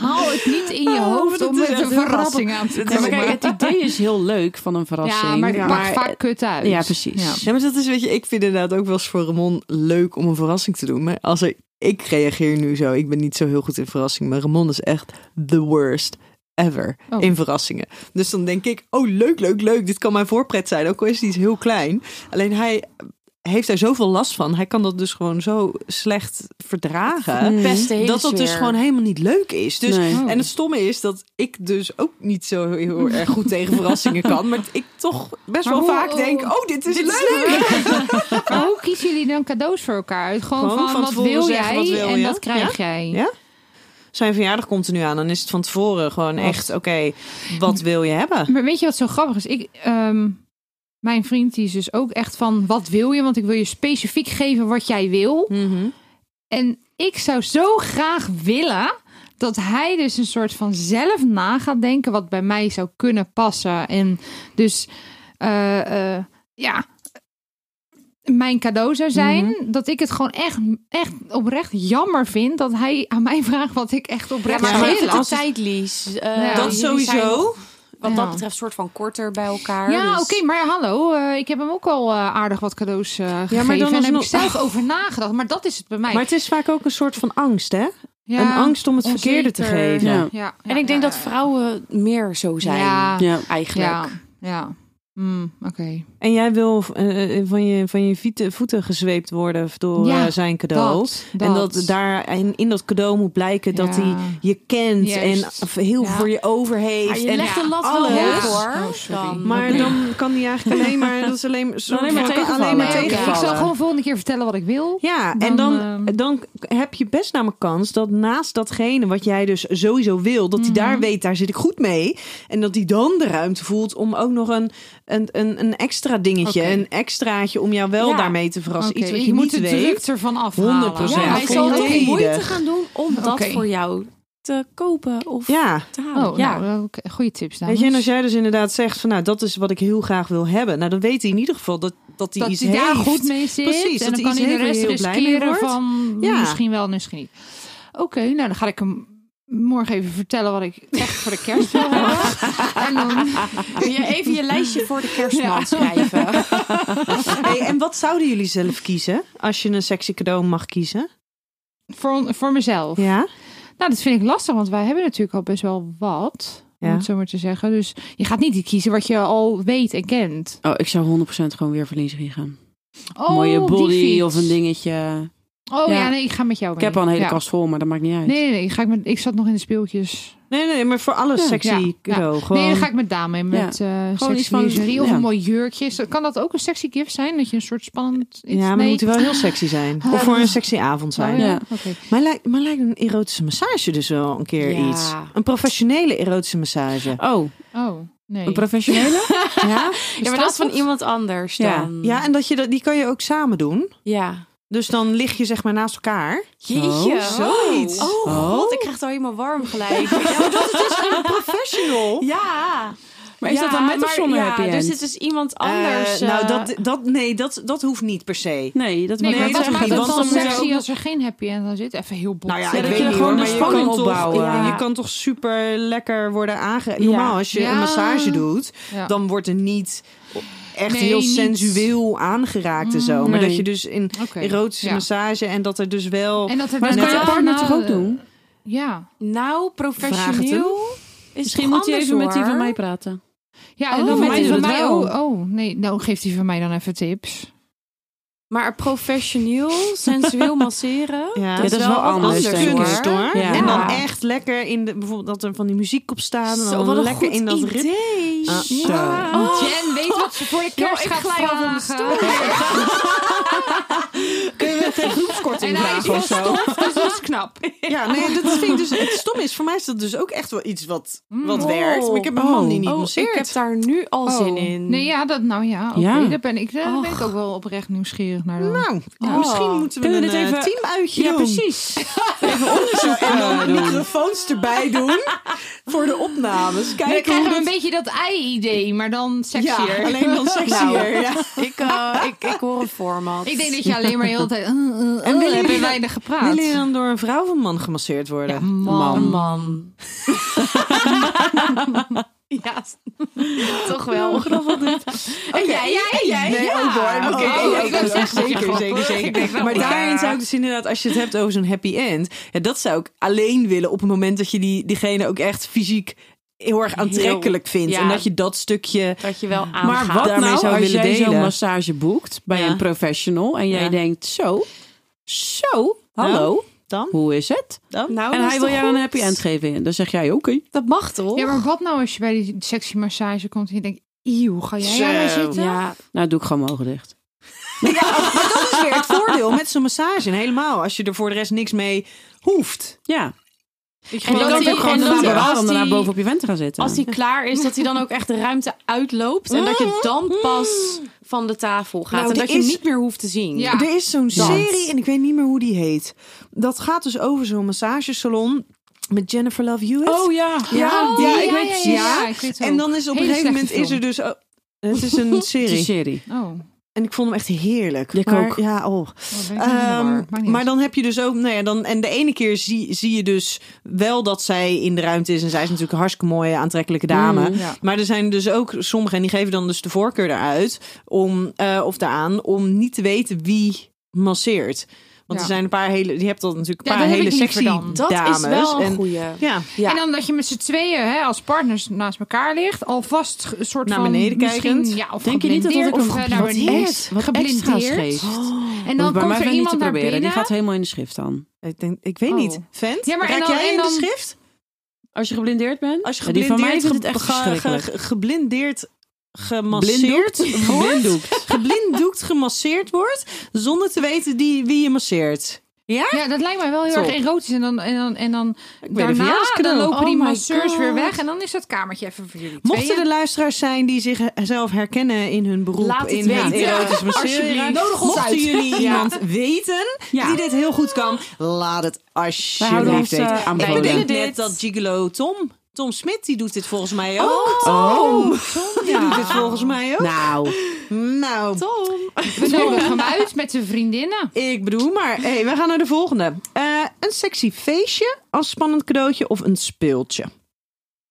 Speaker 4: Haal het niet in je
Speaker 5: Oh,
Speaker 4: hoofd
Speaker 5: dat
Speaker 4: om
Speaker 5: is
Speaker 4: met
Speaker 5: echt
Speaker 4: een
Speaker 5: heel
Speaker 4: verrassing aan te
Speaker 5: Ja, maar
Speaker 4: komen.
Speaker 5: kijk, het idee is heel leuk van een verrassing.
Speaker 4: Ja, maar het pakt vaak kut uit.
Speaker 5: Ja, precies.
Speaker 4: Ja.
Speaker 3: Ja, maar dat is, weet je, ik vind inderdaad ook wel eens voor Ramon leuk om een verrassing te doen. Maar als ik, ik reageer nu zo, ik ben niet zo heel goed in verrassingen. Maar Ramon is echt the worst ever
Speaker 4: Oh.
Speaker 3: in verrassingen. Dus dan denk ik, oh leuk, leuk, leuk. Dit kan mijn voorpret zijn, ook al is het iets heel klein. Alleen hij heeft daar zoveel last van. Hij kan dat dus gewoon zo slecht verdragen.
Speaker 2: Beste hele
Speaker 3: Dat dat dus
Speaker 2: sfeer.
Speaker 3: gewoon helemaal niet leuk is. Dus
Speaker 5: Nee.
Speaker 4: Oh.
Speaker 3: en het stomme is dat ik dus ook niet zo heel erg goed tegen verrassingen kan. Maar ik toch best
Speaker 4: Maar
Speaker 3: wel
Speaker 4: hoe-
Speaker 3: vaak denk, oh, dit is leuk.
Speaker 4: Maar hoe kiezen jullie dan cadeaus voor elkaar uit? Gewoon,
Speaker 3: Gewoon
Speaker 4: van,
Speaker 3: van
Speaker 4: wat
Speaker 3: tevoren
Speaker 4: wil
Speaker 3: zeggen
Speaker 4: jij
Speaker 3: wat wil
Speaker 4: en
Speaker 3: je?
Speaker 4: dat krijg jij.
Speaker 3: Ja. Zijn verjaardag komt er nu aan. Dan is het van tevoren gewoon echt, oké, wat wil je hebben?
Speaker 4: Maar weet je wat zo grappig is? Ik, ehm, mijn vriend die is dus ook echt van, wat wil je? Want ik wil je specifiek geven wat jij wil.
Speaker 3: Mhm.
Speaker 4: En ik zou zo graag willen dat hij dus een soort van zelf na gaat denken wat bij mij zou kunnen passen. En dus, eh, eh, ja, mijn cadeau zou zijn dat ik het gewoon echt, echt oprecht jammer vind dat hij aan mij vraagt wat ik echt
Speaker 2: Ja,
Speaker 4: oprecht
Speaker 2: maar
Speaker 4: zou
Speaker 2: geef
Speaker 4: willen.
Speaker 2: het een tijd, Lies. Eh,
Speaker 3: Dat
Speaker 4: Ja.
Speaker 2: jullie zijn nog
Speaker 3: sowieso.
Speaker 2: wat dat
Speaker 4: Ja.
Speaker 2: betreft soort van korter bij elkaar.
Speaker 4: Ja,
Speaker 2: dus-
Speaker 4: oké, maar hallo, eh, ik heb hem ook al eh, aardig wat cadeaus eh gegeven.
Speaker 3: dan
Speaker 4: en daar heb
Speaker 3: alsnog-
Speaker 4: ik zelf over nagedacht, maar dat is het bij mij.
Speaker 3: Maar het is vaak ook een soort van angst, hè?
Speaker 4: Ja,
Speaker 3: een angst om het verkeerde te
Speaker 4: onzeker.
Speaker 3: geven.
Speaker 5: Ja.
Speaker 4: Ja,
Speaker 2: En ik denk
Speaker 4: ja,
Speaker 2: dat vrouwen meer zo zijn.
Speaker 4: Ja, ja,
Speaker 5: Ja.
Speaker 2: Eigenlijk.
Speaker 4: ja. ja. Mm, oké.
Speaker 3: En jij wil eh, van, je, van je voeten, voeten gezweept worden door
Speaker 4: Ja,
Speaker 3: eh, zijn cadeau.
Speaker 4: dat,
Speaker 3: En
Speaker 4: dat.
Speaker 3: dat daar in, in dat cadeau moet blijken dat
Speaker 4: Ja.
Speaker 3: hij je kent
Speaker 4: Juist.
Speaker 3: en v- heel
Speaker 4: Ja.
Speaker 3: voor je over heeft.
Speaker 2: Maar Ah, je
Speaker 3: en
Speaker 2: legt de lat
Speaker 3: alles.
Speaker 2: wel
Speaker 4: Ja.
Speaker 2: hoog hoor.
Speaker 4: Oh, sorry.
Speaker 2: Dan.
Speaker 3: Maar dan kan hij eigenlijk alleen maar, dat is alleen, zo-
Speaker 5: Alleen maar
Speaker 3: kan
Speaker 5: tegenvallen.
Speaker 3: alleen maar
Speaker 4: Nee, oké,
Speaker 3: tegenvallen.
Speaker 4: Ik zal gewoon volgende keer vertellen wat ik wil.
Speaker 3: Ja,
Speaker 4: Dan,
Speaker 3: en dan,
Speaker 4: ehm,
Speaker 3: dan heb je best namelijk kans dat naast datgene wat jij dus sowieso wil, dat hij daar weet, daar zit ik goed mee. En dat hij dan de ruimte voelt om ook nog een, een, een, een extra dingetje,
Speaker 4: Oké.
Speaker 3: een extraatje om jou wel
Speaker 2: Ja.
Speaker 3: daarmee te verrassen.
Speaker 4: Oké,
Speaker 3: Iets wat
Speaker 4: ik
Speaker 3: je
Speaker 4: moet
Speaker 3: niet
Speaker 4: het druk
Speaker 3: weet.
Speaker 4: ervan afhalen.
Speaker 3: 100%.
Speaker 2: ja,
Speaker 3: Ja,
Speaker 2: hij
Speaker 3: voor
Speaker 2: zal
Speaker 3: je
Speaker 2: toch
Speaker 3: reden.
Speaker 2: moeite gaan doen om dat
Speaker 4: Oké.
Speaker 2: voor jou te kopen of
Speaker 3: Ja.
Speaker 2: te halen.
Speaker 4: Oh,
Speaker 2: ja.
Speaker 4: ja. nou, oké, goede tips dames.
Speaker 3: Weet je, en als jij dus inderdaad zegt van nou, dat is wat ik heel graag wil hebben. Nou, dan weet hij in ieder geval dat, dat hij
Speaker 4: dat
Speaker 3: iets
Speaker 4: hij daar
Speaker 3: heeft.
Speaker 4: goed mee zit.
Speaker 3: Precies,
Speaker 4: en
Speaker 3: dat
Speaker 4: dan
Speaker 3: hij
Speaker 4: kan
Speaker 3: iets
Speaker 4: hij de
Speaker 3: heeft waar
Speaker 4: rest
Speaker 3: je heel blij mee
Speaker 4: riskeren
Speaker 3: wordt.
Speaker 4: van
Speaker 3: Ja.
Speaker 4: misschien wel, misschien niet. Oké, nou dan ga ik hem morgen even vertellen wat ik echt voor de kerst wil hebben. En dan,
Speaker 2: Kun je even je lijstje voor de kerstman
Speaker 4: Ja.
Speaker 2: schrijven?
Speaker 3: Hey, en wat zouden jullie zelf kiezen als je een sexy cadeau mag kiezen?
Speaker 4: voor, voor mezelf.
Speaker 3: Ja.
Speaker 4: Nou, dat vind ik lastig, want wij hebben natuurlijk al best wel wat. Om
Speaker 3: Ja.
Speaker 4: het zo maar te zeggen. Dus je gaat niet kiezen wat je al weet en kent.
Speaker 5: Oh, ik zou 100% gewoon weer voor Linserie gaan.
Speaker 4: Oh,
Speaker 5: Mooie
Speaker 4: die
Speaker 5: body
Speaker 4: fiets.
Speaker 5: of een dingetje.
Speaker 4: Oh ja.
Speaker 5: Ja.
Speaker 4: nee, ik ga met jou
Speaker 5: Ik
Speaker 4: mee.
Speaker 5: heb al een hele
Speaker 4: Ja.
Speaker 5: kast vol, maar dat maakt niet uit.
Speaker 4: Nee, nee, nee, ik, ga ik met, ik zat nog in de speeltjes.
Speaker 3: Nee, nee, maar voor alles
Speaker 5: Ja.
Speaker 3: sexy
Speaker 4: Ja.
Speaker 3: cadeau. Gewoon...
Speaker 4: Nee, dan ga ik met dame mee. Met eh
Speaker 5: Gewoon iets
Speaker 4: sexy
Speaker 5: van-
Speaker 4: lingerie of
Speaker 5: ja.
Speaker 4: een mooi jurkje. Zo- Kan dat ook een sexy gift zijn? Dat je een soort spannend iets...
Speaker 3: Ja, maar
Speaker 4: nee. Ah,
Speaker 3: dan moet hij wel heel sexy zijn. Of voor een sexy avond zijn.
Speaker 4: Oh, ja.
Speaker 5: Ja.
Speaker 4: oké.
Speaker 3: Maar lijkt, maar lijkt een erotische massage dus wel een keer
Speaker 2: Ja.
Speaker 3: iets. Een professionele erotische massage.
Speaker 5: Oh,
Speaker 4: Oh, nee.
Speaker 5: een professionele?
Speaker 3: Ja,
Speaker 2: Ja, maar dat is van iemand anders
Speaker 5: Ja.
Speaker 2: dan.
Speaker 4: Mm.
Speaker 3: ja en dat je, dat- die kan je ook samen doen.
Speaker 2: ja.
Speaker 3: Dus dan lig je zeg maar naast elkaar.
Speaker 2: Jeetje.
Speaker 5: Oh,
Speaker 3: zoiets.
Speaker 2: Oh,
Speaker 5: Oh.
Speaker 2: god, ik krijg het al helemaal warm gelijk.
Speaker 3: Professional.
Speaker 2: ja.
Speaker 5: Maar is dat dan met of
Speaker 2: maar
Speaker 5: zonder
Speaker 2: ja,
Speaker 5: happy
Speaker 2: Er
Speaker 5: end?
Speaker 2: zit dus iemand anders.
Speaker 3: Eh, nou,
Speaker 2: eh,
Speaker 3: dat, dat, nee, dat, dat hoeft niet per se.
Speaker 5: Nee, dat
Speaker 4: Nee,
Speaker 5: wil ik
Speaker 4: maar
Speaker 5: net
Speaker 4: wat
Speaker 5: zeggen.
Speaker 4: maakt het
Speaker 5: Want
Speaker 4: dan
Speaker 5: moet je
Speaker 4: sexy
Speaker 5: ook-
Speaker 4: als er geen happy end aan zit? Even heel bot.
Speaker 3: Nou ja,
Speaker 5: Ja,
Speaker 3: ik
Speaker 5: dat
Speaker 3: weet
Speaker 5: je
Speaker 3: niet hoor,
Speaker 5: gewoon de
Speaker 3: maar je
Speaker 5: spanning
Speaker 3: kan, toch,
Speaker 5: opbouwen.
Speaker 3: ja,
Speaker 2: Ja.
Speaker 3: je kan toch super lekker worden aange... Normaal, als je
Speaker 4: Ja.
Speaker 3: een massage doet,
Speaker 4: Ja.
Speaker 3: dan wordt er niet echt
Speaker 4: Nee,
Speaker 3: heel
Speaker 4: niet.
Speaker 3: sensueel aangeraakt en zo. Maar
Speaker 5: nee.
Speaker 3: dat je dus in
Speaker 4: Oké.
Speaker 3: erotische
Speaker 4: Ja.
Speaker 3: massage en dat er dus wel...
Speaker 4: En dat er
Speaker 5: Maar dat
Speaker 4: net
Speaker 5: kan je
Speaker 4: daarna-
Speaker 5: partner toch ook doen?
Speaker 4: eh, Ja.
Speaker 2: nou,
Speaker 3: Vraag het hem.
Speaker 2: professioneel. Is
Speaker 5: Misschien moet je
Speaker 2: anders,
Speaker 5: even met die
Speaker 2: hoor.
Speaker 5: van mij praten.
Speaker 4: Ja, en
Speaker 5: Oh,
Speaker 4: dan
Speaker 5: van
Speaker 4: met
Speaker 5: mij
Speaker 4: die
Speaker 5: doet
Speaker 4: van
Speaker 5: het
Speaker 4: mij.
Speaker 5: wel.
Speaker 4: Oh, oh, nee. Nou, geeft die van mij dan even tips.
Speaker 2: Maar professioneel, sensueel masseren.
Speaker 3: Ja.
Speaker 5: dat is wel
Speaker 2: wat
Speaker 5: anders,
Speaker 3: Dat is
Speaker 5: denk ik.
Speaker 3: kunst hoor.
Speaker 5: Ja.
Speaker 3: En dan
Speaker 2: Ja.
Speaker 3: echt lekker in de... Bijvoorbeeld dat er van die muziek op staat. En
Speaker 2: Zo,
Speaker 3: dan
Speaker 2: wat een
Speaker 3: lekker
Speaker 2: goed
Speaker 3: in dat ritme.
Speaker 2: idee.
Speaker 3: Ah, zo.
Speaker 4: Oh, Jen weet wat ze voor de
Speaker 2: kerst gaat vragen.
Speaker 3: Kun je geen groepskorting
Speaker 4: En hij is
Speaker 3: vragen of zo?
Speaker 4: Dus dat is knap.
Speaker 3: Ja, nee, dat vind ik dus... Het stom is, voor mij is dat dus ook echt wel iets wat, wat
Speaker 2: Oh.
Speaker 3: werkt. Maar ik heb een man die niet
Speaker 2: oh, ik
Speaker 3: masseert.
Speaker 2: heb daar nu al zin in.
Speaker 4: Oh, Nee, ja, dat, nou ja, oké.
Speaker 5: Ja.
Speaker 4: Daar, ben ik, daar ben ik ook wel oprecht nieuwsgierig naar. Dan.
Speaker 3: Nou,
Speaker 2: Oh.
Speaker 3: misschien moeten we,
Speaker 5: Kunnen we
Speaker 3: een
Speaker 5: dit
Speaker 3: even...
Speaker 5: even-
Speaker 3: teamuitje doen.
Speaker 5: precies.
Speaker 3: Zo, en dan microfoons erbij doen voor de opnames. Kijken
Speaker 4: Dan krijgen
Speaker 3: hoe
Speaker 4: we een
Speaker 3: dat...
Speaker 4: beetje dat ei-idee, maar dan sexier.
Speaker 3: Ja, alleen dan sexier.
Speaker 2: Nou.
Speaker 3: Ja.
Speaker 2: Ik, eh, ik, ik hoor een format.
Speaker 4: Nou, Ik denk dat je alleen maar heel de tijd... Uh, uh,
Speaker 3: En
Speaker 4: uh,
Speaker 3: willen
Speaker 4: hebben
Speaker 3: jullie-
Speaker 4: weinig gepraat.
Speaker 3: Wil je dan door een vrouw of een man gemasseerd worden?
Speaker 4: Ja, mm. man.
Speaker 2: Een man. ja, toch wel. En jij, jij, en jij.
Speaker 3: Nee,
Speaker 2: ja.
Speaker 3: ook hoor.
Speaker 2: Oké.
Speaker 3: Oké,
Speaker 4: Oh,
Speaker 3: ook,
Speaker 4: ik dacht
Speaker 3: ook,
Speaker 4: echt dat je
Speaker 3: zeker,
Speaker 4: grappig.
Speaker 3: zeker,
Speaker 4: Ik
Speaker 3: zeker.
Speaker 4: denk wel,
Speaker 3: Maar
Speaker 4: ja.
Speaker 3: daarin zou ik dus inderdaad, als je het hebt over zo'n happy end, ja, dat zou ik alleen willen op het moment dat je die, diegene ook echt fysiek heel erg aantrekkelijk vindt.
Speaker 2: ja.
Speaker 3: En dat je dat stukje
Speaker 2: Dat je wel aangaat.
Speaker 5: Maar wat
Speaker 3: daarmee
Speaker 5: nou
Speaker 3: zou
Speaker 5: als
Speaker 3: willen
Speaker 5: jij zo'n
Speaker 3: delen?
Speaker 5: massage boekt bij
Speaker 3: Ja.
Speaker 5: een professional en jij
Speaker 3: Ja.
Speaker 5: denkt zo, zo, hallo,
Speaker 3: dan.
Speaker 5: hoe is het?
Speaker 3: dan?
Speaker 2: Nou,
Speaker 5: en
Speaker 2: dat
Speaker 5: hij
Speaker 2: is
Speaker 5: wil
Speaker 2: toch
Speaker 5: jou een
Speaker 2: goed?
Speaker 5: happy end geven. Dan zeg jij oké.
Speaker 2: Dat mag toch?
Speaker 4: Ja, maar wat nou als je bij die sexy massage komt en je denkt... Eeuw, ga jij
Speaker 3: Zo.
Speaker 4: daar zitten?
Speaker 2: Ja,
Speaker 5: Nou, doe ik gewoon mijn ogen dicht.
Speaker 3: Dat is weer het voordeel met zo'n massage. En helemaal als je er voor de rest niks mee hoeft.
Speaker 5: Ja.
Speaker 2: En
Speaker 5: En
Speaker 2: dat
Speaker 5: dan kan
Speaker 2: die-
Speaker 5: ook gewoon
Speaker 2: en dat
Speaker 5: daarna
Speaker 2: die-
Speaker 5: bewaren
Speaker 2: als
Speaker 5: om daarna
Speaker 2: die-
Speaker 5: boven op je vent te gaan zitten.
Speaker 2: als hij klaar is, dat hij dan ook echt de ruimte uitloopt. En dat je dan pas van de tafel gaat.
Speaker 3: Nou,
Speaker 2: en
Speaker 3: die
Speaker 2: dat je hem
Speaker 3: is-
Speaker 2: niet meer hoeft te zien.
Speaker 4: Ja.
Speaker 3: Er is zo'n
Speaker 5: Dat.
Speaker 3: serie, en ik weet niet meer hoe die heet. Dat gaat dus over zo'n massagesalon met Jennifer Love Hewitt.
Speaker 5: Oh ja.
Speaker 3: Ja,
Speaker 4: Oh,
Speaker 3: ja,
Speaker 4: ja,
Speaker 3: ik
Speaker 4: ja,
Speaker 3: weet
Speaker 4: ja,
Speaker 3: precies.
Speaker 4: ja, ik weet het
Speaker 3: en
Speaker 4: ook.
Speaker 3: dan is op een
Speaker 4: Hele
Speaker 3: gegeven moment
Speaker 4: slechte
Speaker 3: is er dus... oh, het is een
Speaker 5: Het is een
Speaker 3: serie.
Speaker 5: serie.
Speaker 4: Oh,
Speaker 3: En ik vond hem echt heerlijk.
Speaker 5: Ik
Speaker 3: maar,
Speaker 5: ook.
Speaker 3: Ja, oh.
Speaker 4: wat ben ik nou in de war?
Speaker 3: Ehm,
Speaker 4: Maakt niet
Speaker 3: maar
Speaker 4: uit.
Speaker 3: dan heb je dus ook, nou ja, dan, en de ene keer zie, zie je dus wel dat zij in de ruimte is. En zij is natuurlijk een hartstikke mooie, aantrekkelijke dame.
Speaker 5: Mm.
Speaker 4: Ja.
Speaker 3: Maar er zijn dus ook sommigen, en die geven dan dus de voorkeur daaruit, om, eh, of daaraan, om niet te weten wie masseert. Want
Speaker 4: Ja.
Speaker 3: er zijn een paar hele, je hebt dat natuurlijk een
Speaker 4: Ja,
Speaker 3: paar
Speaker 4: dat heb
Speaker 3: hele
Speaker 4: ik liever
Speaker 3: sexy
Speaker 4: dan.
Speaker 2: Dat
Speaker 3: dames.
Speaker 2: is wel een
Speaker 3: en,
Speaker 2: goeie.
Speaker 3: ja,
Speaker 2: Ja.
Speaker 4: En dan dat je met z'n tweeën hè, als partners naast elkaar ligt, alvast ge- een soort
Speaker 3: Naar
Speaker 4: van
Speaker 3: beneden
Speaker 4: misschien,
Speaker 3: kijkend.
Speaker 4: Ja, of
Speaker 5: Denk je niet dat dat ik
Speaker 4: geblindeerd
Speaker 5: hem
Speaker 4: of eh, naar beneden
Speaker 5: extra's
Speaker 4: geblindeerd. Oh.
Speaker 5: geeft?
Speaker 4: En
Speaker 5: Moet
Speaker 4: dan
Speaker 5: bij
Speaker 4: komt
Speaker 5: mij
Speaker 4: er
Speaker 5: vind niet te
Speaker 4: iemand naar
Speaker 5: proberen.
Speaker 4: binnen.
Speaker 5: Die gaat helemaal in de schrift dan.
Speaker 3: ik, denk, ik weet
Speaker 4: Oh.
Speaker 3: niet. Vent,
Speaker 4: Ja, maar en
Speaker 3: raak
Speaker 4: dan-
Speaker 3: jij
Speaker 4: en
Speaker 3: in
Speaker 4: dan-
Speaker 3: de schrift?
Speaker 5: Als je geblindeerd bent?
Speaker 3: Als je
Speaker 5: Ja, die van mij
Speaker 3: geblindeerd,
Speaker 5: vindt het echt
Speaker 3: ge- ge-
Speaker 5: verschrikkelijk.
Speaker 3: ge- geblindeerd gemasseerd
Speaker 5: Blinddoekt?
Speaker 3: wordt,
Speaker 5: Geblinddoekt.
Speaker 3: geblinddoekt gemasseerd wordt, zonder te weten die, wie je masseert. Ja?
Speaker 4: ja, dat lijkt mij wel heel
Speaker 3: Top.
Speaker 4: erg erotisch. En dan, en dan, en dan
Speaker 3: ben een
Speaker 4: daarna dan
Speaker 5: nou,
Speaker 3: verjaardagscadeau.
Speaker 4: lopen die
Speaker 2: Oh my
Speaker 4: masseurs weer
Speaker 2: God.
Speaker 4: weg. En dan is dat kamertje even voor jullie
Speaker 3: Mochten
Speaker 4: tweeën.
Speaker 3: er luisteraars zijn die zichzelf herkennen in hun beroep
Speaker 2: Laat het
Speaker 3: in het
Speaker 2: weten.
Speaker 3: erotisch masseren,
Speaker 2: Alsjeblieft. Nodig ons
Speaker 3: mochten
Speaker 2: uit.
Speaker 3: jullie
Speaker 2: Ja.
Speaker 3: iemand weten
Speaker 5: Ja.
Speaker 3: die dit heel goed kan, laat het
Speaker 5: houden ons,
Speaker 3: alsjeblieft
Speaker 5: eh,
Speaker 3: weten.
Speaker 5: aanbevolen.
Speaker 3: Ik denk
Speaker 2: Wij doen dit.
Speaker 3: net dat Gigolo Tom, Tom Smit, die doet dit volgens mij ook.
Speaker 5: Oh.
Speaker 3: Die doet dit volgens mij ook.
Speaker 5: Nou.
Speaker 3: nou
Speaker 2: Tom.
Speaker 4: We nodigen hem uit met zijn vriendinnen.
Speaker 3: Ik bedoel, maar hey, we gaan naar de volgende. Eh, een sexy feestje als spannend cadeautje of een speeltje?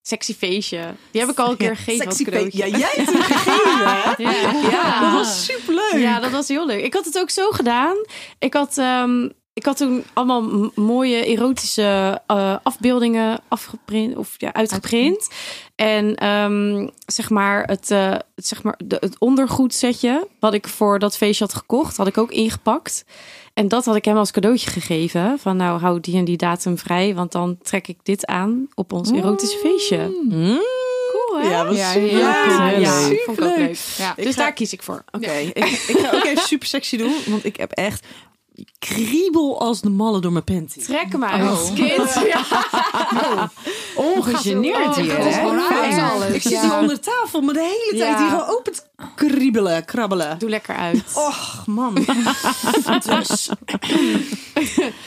Speaker 2: Sexy feestje. Die heb ik al een keer gegeven. dat cadeautje.
Speaker 3: Ja, jij hebt hem gegeven, hè?
Speaker 4: Ja.
Speaker 3: Dat was superleuk.
Speaker 2: Ja, dat was heel leuk. Ik had het ook zo gedaan. Ik had, ehm, ik had toen allemaal m- mooie erotische eh, afbeeldingen afgeprint of ja, uitgeprint. En ehm, zeg maar, het, eh, het, zeg maar de, het ondergoedsetje wat ik voor dat feestje had gekocht, had ik ook ingepakt. En dat had ik hem als cadeautje gegeven. Van nou, hou die en die datum vrij, want dan trek ik dit aan op ons erotische feestje.
Speaker 3: Mm.
Speaker 2: Cool, hè?
Speaker 3: Ja, was
Speaker 4: Ja,
Speaker 3: superleuk.
Speaker 4: ja,
Speaker 2: ja,
Speaker 3: Heel leuk.
Speaker 2: vond ik ook leuk.
Speaker 4: Ja.
Speaker 2: Dus daar kies ik voor.
Speaker 3: Oké, ik, ik ga ook even super sexy doen, want ik heb echt kriebel als de malle door mijn panty.
Speaker 2: Trek hem uit,
Speaker 3: Oh.
Speaker 2: kind. Ja.
Speaker 5: Ongegeneerd hier,
Speaker 4: Het is
Speaker 5: hè?
Speaker 4: gewoon
Speaker 3: Fijn.
Speaker 4: uit alles.
Speaker 3: Ik zit
Speaker 4: ja.
Speaker 3: hier onder de tafel, maar de hele tijd
Speaker 2: Ja.
Speaker 3: hier gewoon open te kriebelen, krabbelen.
Speaker 2: Doe lekker uit.
Speaker 3: Och, man. Dus-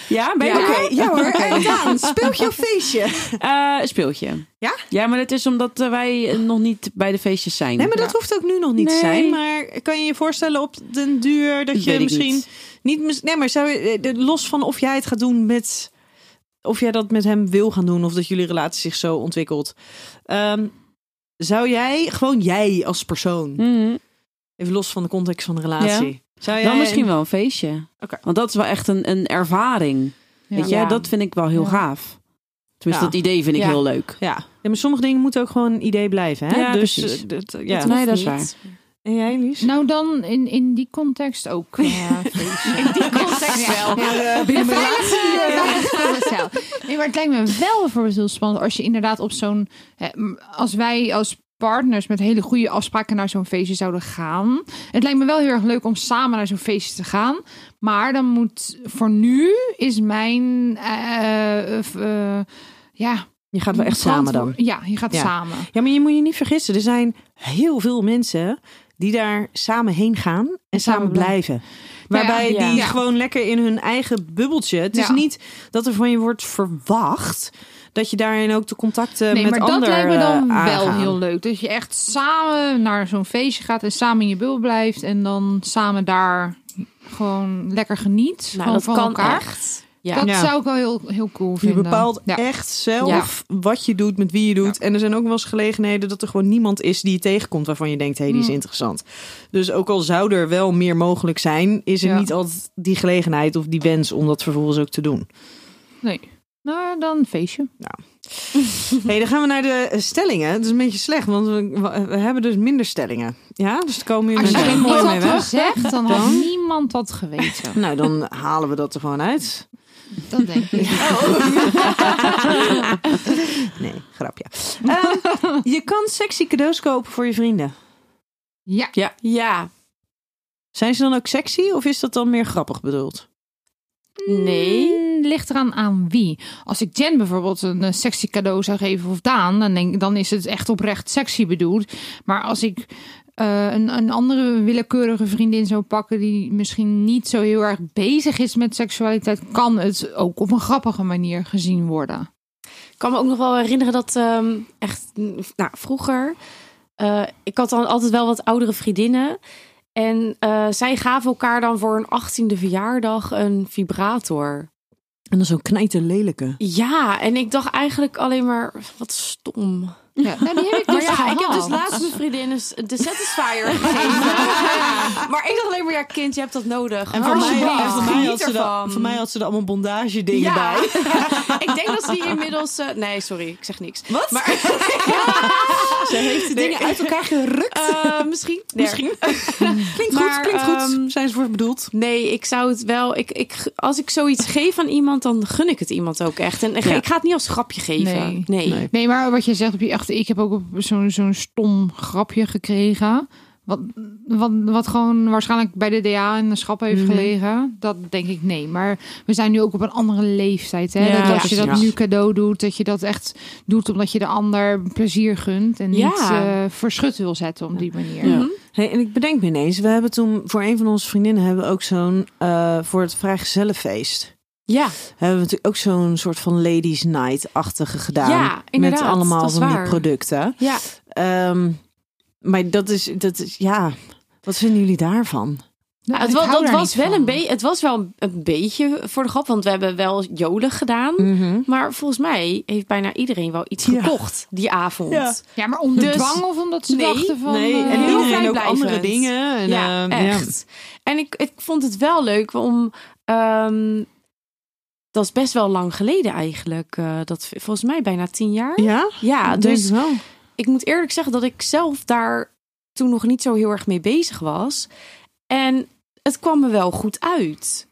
Speaker 5: Ja, ben je
Speaker 3: Oké,
Speaker 5: er?
Speaker 3: ja hoor. En Daan, speelt jouw feestje?
Speaker 5: Eh, speeltje.
Speaker 3: Ja?
Speaker 5: Ja, maar dat is omdat eh, wij nog niet bij de feestjes zijn.
Speaker 3: Nee, maar dat hoeft ook nu nog niet te
Speaker 5: Nee.
Speaker 3: zijn. Maar kan je je voorstellen op den duur dat
Speaker 5: Dat
Speaker 3: je
Speaker 5: weet ik
Speaker 3: misschien
Speaker 5: niet.
Speaker 3: niet. mis- nee, maar zou je, eh, de- los van of jij het gaat doen met. Of jij dat met hem wil gaan doen of dat jullie relatie zich zo ontwikkelt. Ehm, zou jij, gewoon jij als persoon,
Speaker 5: Mhm.
Speaker 3: even los van de context van de relatie. Zou jij
Speaker 5: Dan misschien wel een feestje.
Speaker 3: Oké.
Speaker 5: Want dat is wel echt een, een ervaring. Weet je,
Speaker 2: Ja.
Speaker 5: dat vind ik wel heel
Speaker 4: Ja.
Speaker 5: gaaf. Tenminste,
Speaker 3: Ja.
Speaker 5: dat idee vind ik
Speaker 2: Ja.
Speaker 5: heel leuk.
Speaker 3: Ja. ja, maar sommige dingen moeten ook gewoon een idee blijven. Hè?
Speaker 5: Ja,
Speaker 3: dus,
Speaker 5: precies.
Speaker 3: eh, dat- ja.
Speaker 5: Dat- Nee, dat is
Speaker 2: Hoeft niet.
Speaker 3: En jij, Lies?
Speaker 4: Nou, dan in, in die context ook. eh, feestje. in die context wel.
Speaker 3: binnen
Speaker 4: Een veilige- veilige gezelschap. Nee, maar het lijkt me wel bijvoorbeeld heel spannend als je inderdaad op zo'n. eh, m, Als wij als partners met hele goede afspraken naar zo'n feestje zouden gaan. Het lijkt me wel heel erg leuk om samen naar zo'n feestje te gaan. Maar dan moet voor nu is mijn. eh, eh, eh, ja,
Speaker 3: Je gaat wel echt samen dan.
Speaker 4: verantwoord- Ja, je gaat
Speaker 3: Ja.
Speaker 4: samen.
Speaker 3: Ja, maar je moet je niet vergissen. Er zijn heel veel mensen die daar samen heen gaan en, samen,
Speaker 4: samen
Speaker 3: blijven. Waarbij
Speaker 2: ja.
Speaker 3: die
Speaker 4: Ja.
Speaker 3: gewoon lekker in hun eigen bubbeltje. Het is
Speaker 4: Ja.
Speaker 3: niet dat er van je wordt verwacht dat je daarin ook de contacten
Speaker 4: Nee,
Speaker 3: eh, met
Speaker 4: maar dat
Speaker 3: anderen
Speaker 4: lijkt me dan
Speaker 3: eh,
Speaker 4: wel
Speaker 3: aangaan.
Speaker 4: heel leuk. Dat je echt samen naar zo'n feestje gaat en samen in je bubbel blijft. En dan samen daar gewoon lekker geniet.
Speaker 2: Nou,
Speaker 4: gewoon
Speaker 2: dat
Speaker 4: van
Speaker 2: kan
Speaker 4: elkaar.
Speaker 2: echt. Ja.
Speaker 4: Dat
Speaker 3: Ja.
Speaker 4: zou ik wel heel, heel cool
Speaker 3: Je
Speaker 4: vinden.
Speaker 3: bepaalt
Speaker 4: ja.
Speaker 3: echt zelf wat je doet, met wie je doet. En er zijn ook wel eens gelegenheden dat er gewoon niemand is die je tegenkomt waarvan je denkt, hé, hey, die is
Speaker 4: Mm.
Speaker 3: interessant. Dus ook al zou er wel meer mogelijk zijn, is er
Speaker 4: Ja.
Speaker 3: niet altijd die gelegenheid of die wens om dat vervolgens ook te doen.
Speaker 4: Nee. Nou, dan een feestje.
Speaker 3: Hey, dan gaan we naar de eh, stellingen. Het is een beetje slecht, want we, we- we hebben dus minder stellingen. Ja, dus er komen jullie
Speaker 4: Als je
Speaker 3: er
Speaker 4: dat niet
Speaker 3: mooi mee
Speaker 4: had
Speaker 3: weg.
Speaker 4: gezegd, dan had
Speaker 3: Dan?
Speaker 4: niemand dat geweten.
Speaker 3: Nou, dan halen we dat er gewoon uit.
Speaker 4: Dat denk ik.
Speaker 3: Oh. Nee, grapje. Ehm, je kan sexy cadeaus kopen voor je vrienden.
Speaker 4: Ja.
Speaker 2: Ja.
Speaker 3: Zijn ze dan ook sexy of is dat dan meer grappig bedoeld?
Speaker 2: Nee.
Speaker 4: Mm, Ligt eraan aan wie. Als ik Jen bijvoorbeeld een eh, sexy cadeau zou geven of Daan, dan, denk, dan is het echt oprecht sexy bedoeld. Maar als ik eh, een, een andere willekeurige vriendin zou pakken die misschien niet zo heel erg bezig is met seksualiteit, kan het ook op een grappige manier gezien worden.
Speaker 2: Ik kan me ook nog wel herinneren dat ehm, echt mm, nou, vroeger. eh, ik had dan altijd wel wat oudere vriendinnen. En eh, zij gaven elkaar dan voor hun 18e verjaardag een vibrator.
Speaker 3: En dan zo'n knijter lelijke.
Speaker 2: Ja, en ik dacht eigenlijk alleen maar wat stom.
Speaker 4: Ja, nou, die heb ik dus
Speaker 2: Maar ja, ik heb dus
Speaker 4: gehad.
Speaker 2: laatst mijn vriendin een s- de Satisfier gegeven. maar ik dacht alleen maar, ja kind, je hebt dat nodig.
Speaker 3: En voor mij,
Speaker 2: Alsjeblieft,
Speaker 3: en voor mij,
Speaker 2: geniet
Speaker 3: had, ze
Speaker 2: ervan.
Speaker 3: er, voor mij had ze er allemaal bondage dingen
Speaker 2: ja.
Speaker 3: bij.
Speaker 2: ik denk dat ze die inmiddels... eh, nee, sorry, ik zeg niks.
Speaker 3: Wat? ze heeft de dingen uit elkaar gerukt.
Speaker 2: Eh, misschien. Nee.
Speaker 3: Misschien. klinkt
Speaker 2: Maar,
Speaker 3: goed, klinkt
Speaker 2: ehm,
Speaker 3: goed. Zijn ze voor bedoeld?
Speaker 2: Nee, ik zou het wel. Ik, ik, als ik zoiets geef aan iemand, dan gun ik het iemand ook echt. En ik-
Speaker 5: Ja.
Speaker 2: ik ga het niet als grapje geven.
Speaker 4: Nee.
Speaker 2: Nee.
Speaker 3: Nee.
Speaker 4: Nee, maar wat je zegt op je achter, ik heb ook op zo'n zo'n stom grapje gekregen. Wat, wat, wat gewoon waarschijnlijk bij de DA in de schap
Speaker 2: Mhm.
Speaker 4: heeft gelegen. Dat denk ik nee. Maar we zijn nu ook op een andere leeftijd. Hè?
Speaker 5: Ja,
Speaker 4: dat als je dat
Speaker 3: precies.
Speaker 4: nu cadeau doet, dat je dat echt doet omdat je de ander plezier gunt. En
Speaker 2: Ja.
Speaker 4: niet eh, verschut wil zetten op die manier.
Speaker 5: Ja.
Speaker 3: Hey, en ik bedenk me ineens, we hebben toen voor een van onze vriendinnen hebben we ook zo'n eh, voor het vrijgezellenfeest.
Speaker 2: Ja,
Speaker 3: Hebben we natuurlijk ook zo'n soort van ladies night-achtige gedaan.
Speaker 2: Ja, inderdaad,
Speaker 3: Met allemaal
Speaker 2: dat is
Speaker 3: van die
Speaker 2: waar.
Speaker 3: producten.
Speaker 2: ja.
Speaker 3: Ehm, maar dat is, dat is, ja, wat vinden jullie daarvan?
Speaker 4: Nou,
Speaker 2: het
Speaker 4: ik
Speaker 2: was,
Speaker 4: hou
Speaker 2: dat
Speaker 4: daar
Speaker 2: was
Speaker 4: niet
Speaker 2: wel
Speaker 4: van.
Speaker 2: een beetje. Het was wel een- een beetje voor de grap, want we hebben wel jolen gedaan. Maar volgens mij heeft bijna iedereen wel iets
Speaker 3: Mm. Ja.
Speaker 2: gekocht die avond.
Speaker 3: Ja.
Speaker 4: Ja, maar onder
Speaker 2: Dus-
Speaker 4: dwang of omdat ze
Speaker 2: Nee,
Speaker 4: dachten van...
Speaker 3: nee,
Speaker 4: eh,
Speaker 2: heel
Speaker 3: en iedereen ook
Speaker 2: vrijblijvend.
Speaker 3: andere dingen. En,
Speaker 2: Ja,
Speaker 4: ehm,
Speaker 3: eh,
Speaker 2: echt. En ik, ik vond het wel leuk om. ehm, dat is best wel lang geleden eigenlijk. eh, dat volgens mij bijna tien jaar.
Speaker 3: Ja, ja,
Speaker 2: Ja,
Speaker 3: denk
Speaker 2: dus
Speaker 3: ik wel.
Speaker 2: ik moet eerlijk zeggen dat ik zelf daar toen nog niet zo heel erg mee bezig was. En het kwam me wel goed uit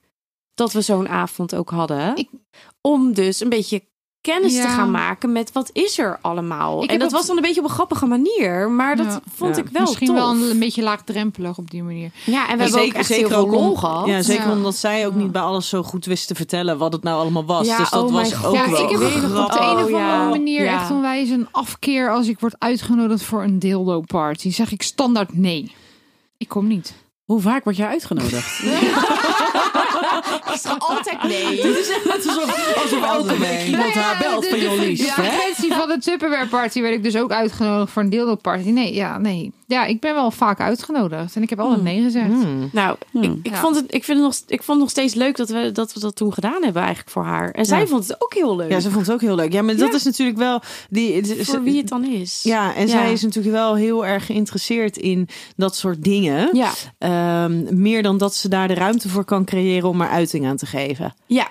Speaker 2: dat we zo'n avond ook hadden.
Speaker 4: Ik-
Speaker 2: Om dus een beetje kennis te
Speaker 4: Ja.
Speaker 2: gaan maken met wat is er allemaal.
Speaker 4: Ik
Speaker 2: en
Speaker 4: heb
Speaker 2: dat
Speaker 4: op-
Speaker 2: was dan een beetje op een grappige manier, maar dat
Speaker 4: Ja.
Speaker 2: vond
Speaker 5: Ja.
Speaker 2: ik wel
Speaker 4: Misschien
Speaker 2: tof.
Speaker 4: wel een, beetje laagdrempelig op die manier.
Speaker 2: Ja, en we hebben ook echt heel veel
Speaker 3: ook om-
Speaker 2: lol gehad.
Speaker 3: Ja, zeker
Speaker 4: Ja.
Speaker 3: omdat zij ook niet bij alles zo goed wist te vertellen wat het nou allemaal was.
Speaker 2: Ja,
Speaker 3: dus dat
Speaker 2: oh
Speaker 3: was
Speaker 2: mijn
Speaker 3: ook
Speaker 2: god.
Speaker 4: ja,
Speaker 3: wel
Speaker 4: ik heb
Speaker 2: weer
Speaker 3: grappig.
Speaker 4: op de een of
Speaker 2: Oh,
Speaker 4: andere
Speaker 2: ja.
Speaker 4: manier
Speaker 2: Ja.
Speaker 4: echt onwijs een afkeer als ik word uitgenodigd voor een dildo party. Zeg ik standaard nee. Ik kom niet.
Speaker 5: Hoe vaak word jij uitgenodigd?
Speaker 2: Ik zeg altijd nee.
Speaker 5: Dit is echt alsof, alsof elke week iemand haar belt van Jolies.
Speaker 4: Ja, de kwestie van de Tupperware party werd ik dus ook uitgenodigd voor een dildo party. Nee, ja, nee. Ja, ik ben wel vaak uitgenodigd en ik heb altijd nee gezegd.
Speaker 2: Nou,
Speaker 3: Hmm.
Speaker 2: ik, ik,
Speaker 4: Ja.
Speaker 2: vond het, ik, vind het nog, ik vond het nog steeds leuk dat we, dat we dat toen gedaan hebben eigenlijk voor haar. En zij vond het ook heel leuk.
Speaker 3: Ja, ze vond het ook heel leuk. Ja, maar dat
Speaker 2: Ja.
Speaker 3: is natuurlijk wel... Die, ze-
Speaker 2: voor wie het dan is.
Speaker 3: Ja, en
Speaker 2: Ja.
Speaker 3: zij is natuurlijk wel heel erg geïnteresseerd in dat soort dingen.
Speaker 2: Ja,
Speaker 3: Ehm, meer dan dat ze daar de ruimte voor kan creëren om er uiting aan te geven.
Speaker 2: ja.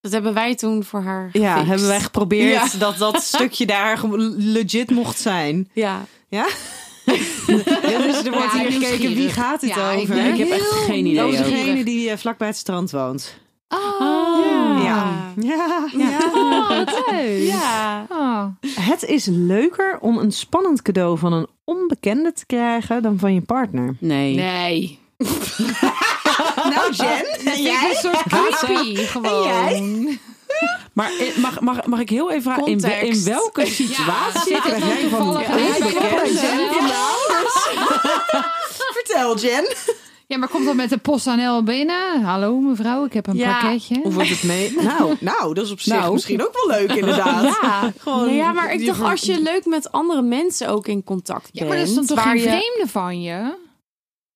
Speaker 2: Dat hebben wij toen voor haar
Speaker 3: Ja,
Speaker 2: gefixt.
Speaker 3: hebben wij geprobeerd
Speaker 2: Ja.
Speaker 3: dat dat stukje daar gewoon legit mocht zijn.
Speaker 2: Ja.
Speaker 3: Ja? Ja, dus er wordt
Speaker 4: Ja,
Speaker 3: hier gekeken,
Speaker 4: nieuwsgierig.
Speaker 3: wie gaat het
Speaker 4: Ja, ik
Speaker 3: over?
Speaker 4: ben
Speaker 5: Ik heb echt geen idee.
Speaker 3: Dat is
Speaker 5: ook.
Speaker 4: nieuwsgierig.
Speaker 3: degene die eh, vlakbij het strand woont.
Speaker 2: Ja.
Speaker 3: Ja. Ja.
Speaker 4: Oh, wat Ah, leuk.
Speaker 2: Ja.
Speaker 4: Ah.
Speaker 3: Het is leuker om een spannend cadeau van een onbekende te krijgen dan van je partner.
Speaker 5: Nee.
Speaker 4: Nee.
Speaker 3: Nou,
Speaker 4: Ah,
Speaker 3: Jen. En
Speaker 4: Jij? Een soort creepy gewoon.
Speaker 5: Maar eh, mag, mag, mag ik heel even vragen, in, wel- in
Speaker 2: Context.
Speaker 5: welke
Speaker 4: Ja,
Speaker 5: situatie?
Speaker 4: zit het dan toevallig
Speaker 3: krijg
Speaker 4: bij
Speaker 3: je
Speaker 4: elkaar?
Speaker 3: Vertel, Jen.
Speaker 4: Ja, maar komt dat met de PostNL binnen? Hallo mevrouw, ik heb een
Speaker 2: Ja.
Speaker 4: pakketje.
Speaker 3: Hoe wordt het mee? Nou, nou, dat is op zich misschien ook wel leuk inderdaad.
Speaker 2: Ja.
Speaker 3: Gewoon
Speaker 2: Nee, ja, maar ik
Speaker 3: die
Speaker 2: dacht
Speaker 3: ver-
Speaker 2: als je leuk met andere mensen ook in contact bent.
Speaker 4: Ja, maar dat is dan toch
Speaker 2: waar
Speaker 4: geen
Speaker 2: je-
Speaker 4: vreemde van je?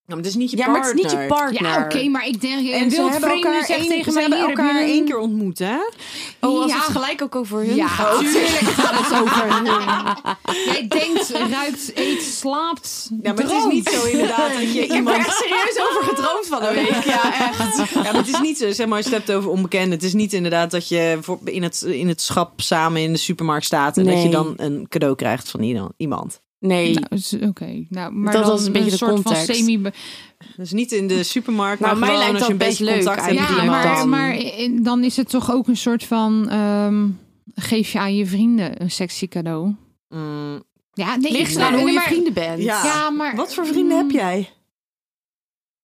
Speaker 3: Ja, maar het is niet je
Speaker 2: Ja, maar het is niet je partner.
Speaker 4: Ja, oké, maar ik denk...
Speaker 3: En
Speaker 4: Een
Speaker 3: ze
Speaker 4: wild
Speaker 3: hebben
Speaker 4: vreemde
Speaker 3: elkaar,
Speaker 4: zegt
Speaker 3: één,
Speaker 4: tegen
Speaker 3: ze
Speaker 4: mij...
Speaker 3: hebben
Speaker 4: hier, heb je
Speaker 3: elkaar
Speaker 4: een-
Speaker 3: één keer ontmoet, hè?
Speaker 2: Oh, als
Speaker 4: Ja.
Speaker 2: het gelijk ook over hun
Speaker 4: Ja,
Speaker 2: gaat.
Speaker 4: natuurlijk gaat het over hun. Jij denkt, ruikt, eet, slaapt,
Speaker 3: Ja, maar het is niet zo inderdaad dat je
Speaker 2: Ik heb er
Speaker 3: iemand...
Speaker 2: echt serieus over gedroomd van een week.
Speaker 3: Ja, echt. Ja, maar het is niet zo, zeg maar, als je het hebt over onbekenden. Het is niet inderdaad dat je voor, in, het, in het schap samen in de supermarkt staat... en dat je
Speaker 2: Nee.
Speaker 3: dan een cadeau krijgt van ieder- iemand.
Speaker 2: Nee.
Speaker 4: Nou, is- Oké, nou, maar
Speaker 2: Dat
Speaker 4: dan
Speaker 2: was een beetje de
Speaker 4: soort van
Speaker 2: context.
Speaker 4: semi...
Speaker 3: Dus niet in de supermarkt,
Speaker 2: Nou,
Speaker 3: maar
Speaker 2: mij
Speaker 3: gewoon
Speaker 2: lijkt
Speaker 3: als je een
Speaker 2: dat
Speaker 3: beetje
Speaker 2: best leuk
Speaker 3: contact hebt met
Speaker 4: Ja,
Speaker 2: eigenlijk.
Speaker 3: iemand.
Speaker 4: maar,
Speaker 2: dan.
Speaker 4: maar in- dan is het toch ook een soort van... ehm, geef je aan je vrienden een sexy cadeau?
Speaker 3: Mm,
Speaker 4: Ja, nee,
Speaker 2: Ligt
Speaker 4: nou,
Speaker 2: eraan hoe je
Speaker 4: maar-
Speaker 2: vrienden bent.
Speaker 3: Ja.
Speaker 4: Ja, maar...
Speaker 3: wat voor vrienden heb jij?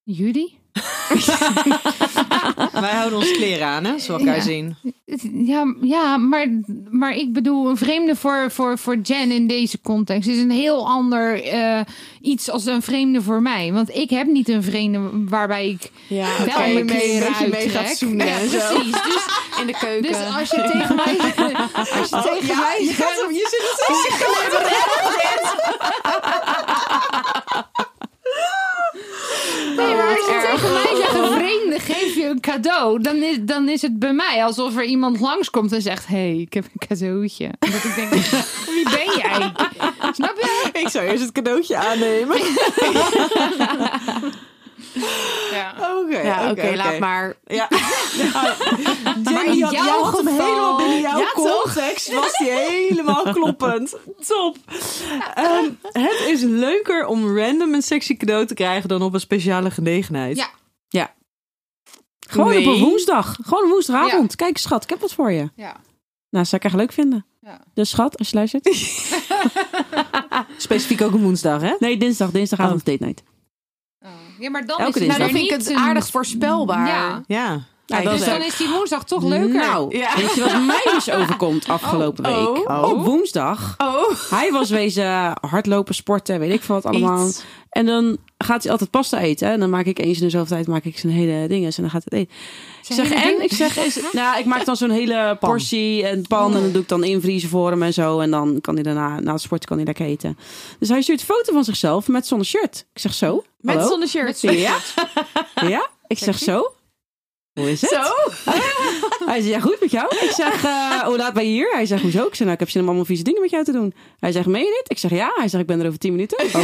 Speaker 4: Jullie?
Speaker 3: Wij houden ons kleren aan, hè? Zo elkaar
Speaker 4: Ja.
Speaker 3: zien.
Speaker 4: Ja, ja maar, maar ik bedoel, een vreemde voor, voor, voor Jen in deze context is een heel ander eh, iets als een vreemde voor mij. Want ik heb niet een vreemde waarbij ik
Speaker 2: Ja,
Speaker 4: wel
Speaker 2: oké.
Speaker 3: dat
Speaker 4: mijn
Speaker 3: je een
Speaker 4: kleren
Speaker 3: beetje mee
Speaker 4: uittrek.
Speaker 3: gaat zoenen
Speaker 4: Ja,
Speaker 3: en zo.
Speaker 4: precies. Dus,
Speaker 2: in de keuken.
Speaker 4: dus als je tegen mij... Als je tegen mij
Speaker 3: Oh, je, gaat hem, je zit het zo
Speaker 4: Nee, maar als je tegen mij zegt, een vreemde geef je een cadeau, dan is, dan is het bij mij alsof er iemand langskomt en zegt, hé, hey, ik heb een cadeautje. Dat ik denk, wie ben jij? Snap je?
Speaker 3: Ik zou eerst het cadeautje aannemen. Oké,
Speaker 4: Ja.
Speaker 2: ja,
Speaker 3: Oh, oké,
Speaker 2: oké,
Speaker 3: oké. Dus
Speaker 2: laat maar.
Speaker 3: Ja. maar
Speaker 4: in jouw geval-
Speaker 3: helemaal binnen jouw
Speaker 2: Ja, toch?
Speaker 3: context was die helemaal kloppend. Top. Ehm, het is leuker om random een sexy cadeau te krijgen dan op een speciale gelegenheid.
Speaker 4: Ja.
Speaker 5: Ja. Gewoon op
Speaker 2: Nee.
Speaker 5: een woensdag. Gewoon een woensdagavond. Kijk, schat, ik heb wat voor je.
Speaker 4: ja.
Speaker 5: Nou, zou ik echt leuk vinden.
Speaker 4: Ja.
Speaker 5: Dus schat, als je luistert.
Speaker 3: Specifiek ook een woensdag, hè?
Speaker 5: Nee, dinsdag. Dinsdagavond date night.
Speaker 4: Oh. Ja, maar dan
Speaker 5: Elke
Speaker 4: is het
Speaker 5: dinsdag.
Speaker 2: Nou,
Speaker 4: weer
Speaker 2: dan vind ik
Speaker 4: niet
Speaker 2: het
Speaker 4: een-
Speaker 2: aardig voorspelbaar.
Speaker 4: Ja.
Speaker 3: Ja.
Speaker 5: Ja,
Speaker 3: Kijk,
Speaker 5: Nou,
Speaker 4: Dus
Speaker 5: dat is
Speaker 3: leuk.
Speaker 4: dan is die woensdag toch leuker.
Speaker 5: Nou, weet je wat mij dus overkomt afgelopen
Speaker 2: Oh.
Speaker 5: week?
Speaker 3: Oh.
Speaker 5: Op woensdag.
Speaker 2: Oh,
Speaker 5: Hij was wezen hardlopen, sporten, weet ik veel wat allemaal.
Speaker 2: Iets.
Speaker 5: En dan gaat hij altijd pasta eten. En dan maak ik eens in de zoveel tijd maak ik zijn hele dinges. En dan gaat het eten. Ik zeg,
Speaker 4: hele
Speaker 5: en?
Speaker 4: ding-
Speaker 5: Ik zeg, is, nou, ik maak dan zo'n hele portie en pan. En dan doe ik dan invriezen voor hem en zo. En dan kan hij daarna, na het sport kan hij lekker eten. Dus hij stuurt een foto van zichzelf met zo'n shirt. Ik zeg, zo?
Speaker 2: met
Speaker 5: hallo?
Speaker 2: zonder shirt.
Speaker 5: Ja? ja? Ik zeg, zo? Hoe is het?
Speaker 2: Zo?
Speaker 5: Hij zegt, ja, goed met jou. Ik zeg, eh, hoe laat ben je hier? Hij zegt, hoezo? Ik zeg, nou, ik heb zin om allemaal vieze dingen met jou te doen. Hij zegt, meen je dit? Ik zeg, ja. Hij zegt, ik ben er over tien minuten. Oké.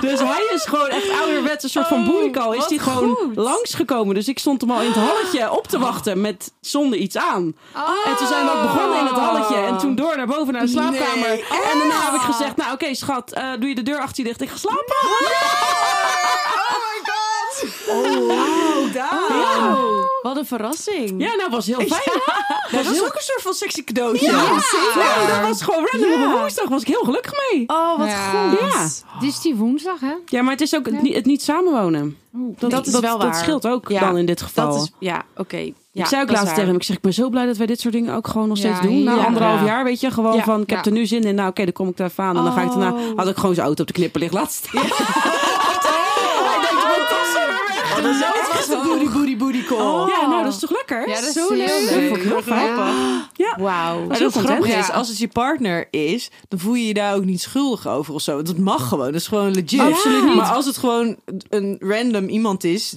Speaker 5: dus hij is gewoon echt ouderwets, een soort van boeikal. Is
Speaker 2: wat
Speaker 5: hij gewoon
Speaker 2: goed.
Speaker 5: langsgekomen. Dus ik stond hem al in het halletje op te wachten met zonder iets aan. En toen zijn we ook begonnen in het halletje. En toen door naar boven naar de slaapkamer. En daarna heb ik gezegd, nou oké schat, eh, doe je de deur achter je dicht. Ik ga slapen.
Speaker 3: Oh my god!
Speaker 5: Wauw,
Speaker 3: gedaan.
Speaker 2: Wat een verrassing.
Speaker 5: Ja, nou was heel fijn.
Speaker 3: Dat was ook een soort van sexy cadeautje.
Speaker 5: Nou, dat was gewoon random. Op een woensdag was ik heel gelukkig mee.
Speaker 2: Oh, wat
Speaker 4: Ja.
Speaker 2: goed.
Speaker 5: Ja.
Speaker 4: Het is die woensdag, hè?
Speaker 5: Ja, maar het is ook het, niet, het niet samenwonen.
Speaker 2: Dat is wel
Speaker 5: dat
Speaker 2: waar.
Speaker 5: scheelt ook
Speaker 2: Ja,
Speaker 5: dan in dit geval.
Speaker 2: Dat is, ja, oké. Ja,
Speaker 5: ik zei ook
Speaker 2: dat is
Speaker 5: laatst
Speaker 2: waar.
Speaker 5: tegen hem, ik zeg, ik ben zo blij dat wij dit soort dingen ook gewoon nog
Speaker 4: Ja,
Speaker 5: steeds doen. Na
Speaker 4: ja.
Speaker 5: anderhalf
Speaker 4: Ja.
Speaker 5: jaar, weet je, gewoon
Speaker 2: Ja.
Speaker 5: van, ik
Speaker 4: Ja.
Speaker 5: heb er nu zin in. Nou, oké, dan kom ik daar aan. En dan ga ik daarna,
Speaker 2: Oh.
Speaker 5: had ik gewoon zijn auto op de knipper liggen laatst. Ja.
Speaker 3: Dat is ook echt een booty booty booty call.
Speaker 5: ja, nou, dat is toch lekker?
Speaker 4: Ja, dat is
Speaker 5: zo
Speaker 4: heel leuk.
Speaker 5: Dat vond ik heel grappig.
Speaker 4: Ja.
Speaker 2: Wauw.
Speaker 3: Maar
Speaker 5: Zo
Speaker 3: dat
Speaker 5: content.
Speaker 3: grappige is,
Speaker 4: Ja.
Speaker 3: dus als het je partner is, dan voel je je daar ook niet schuldig over of zo. Want dat mag gewoon, dat is gewoon legit.
Speaker 5: Absoluut niet.
Speaker 3: Maar als het gewoon een random iemand is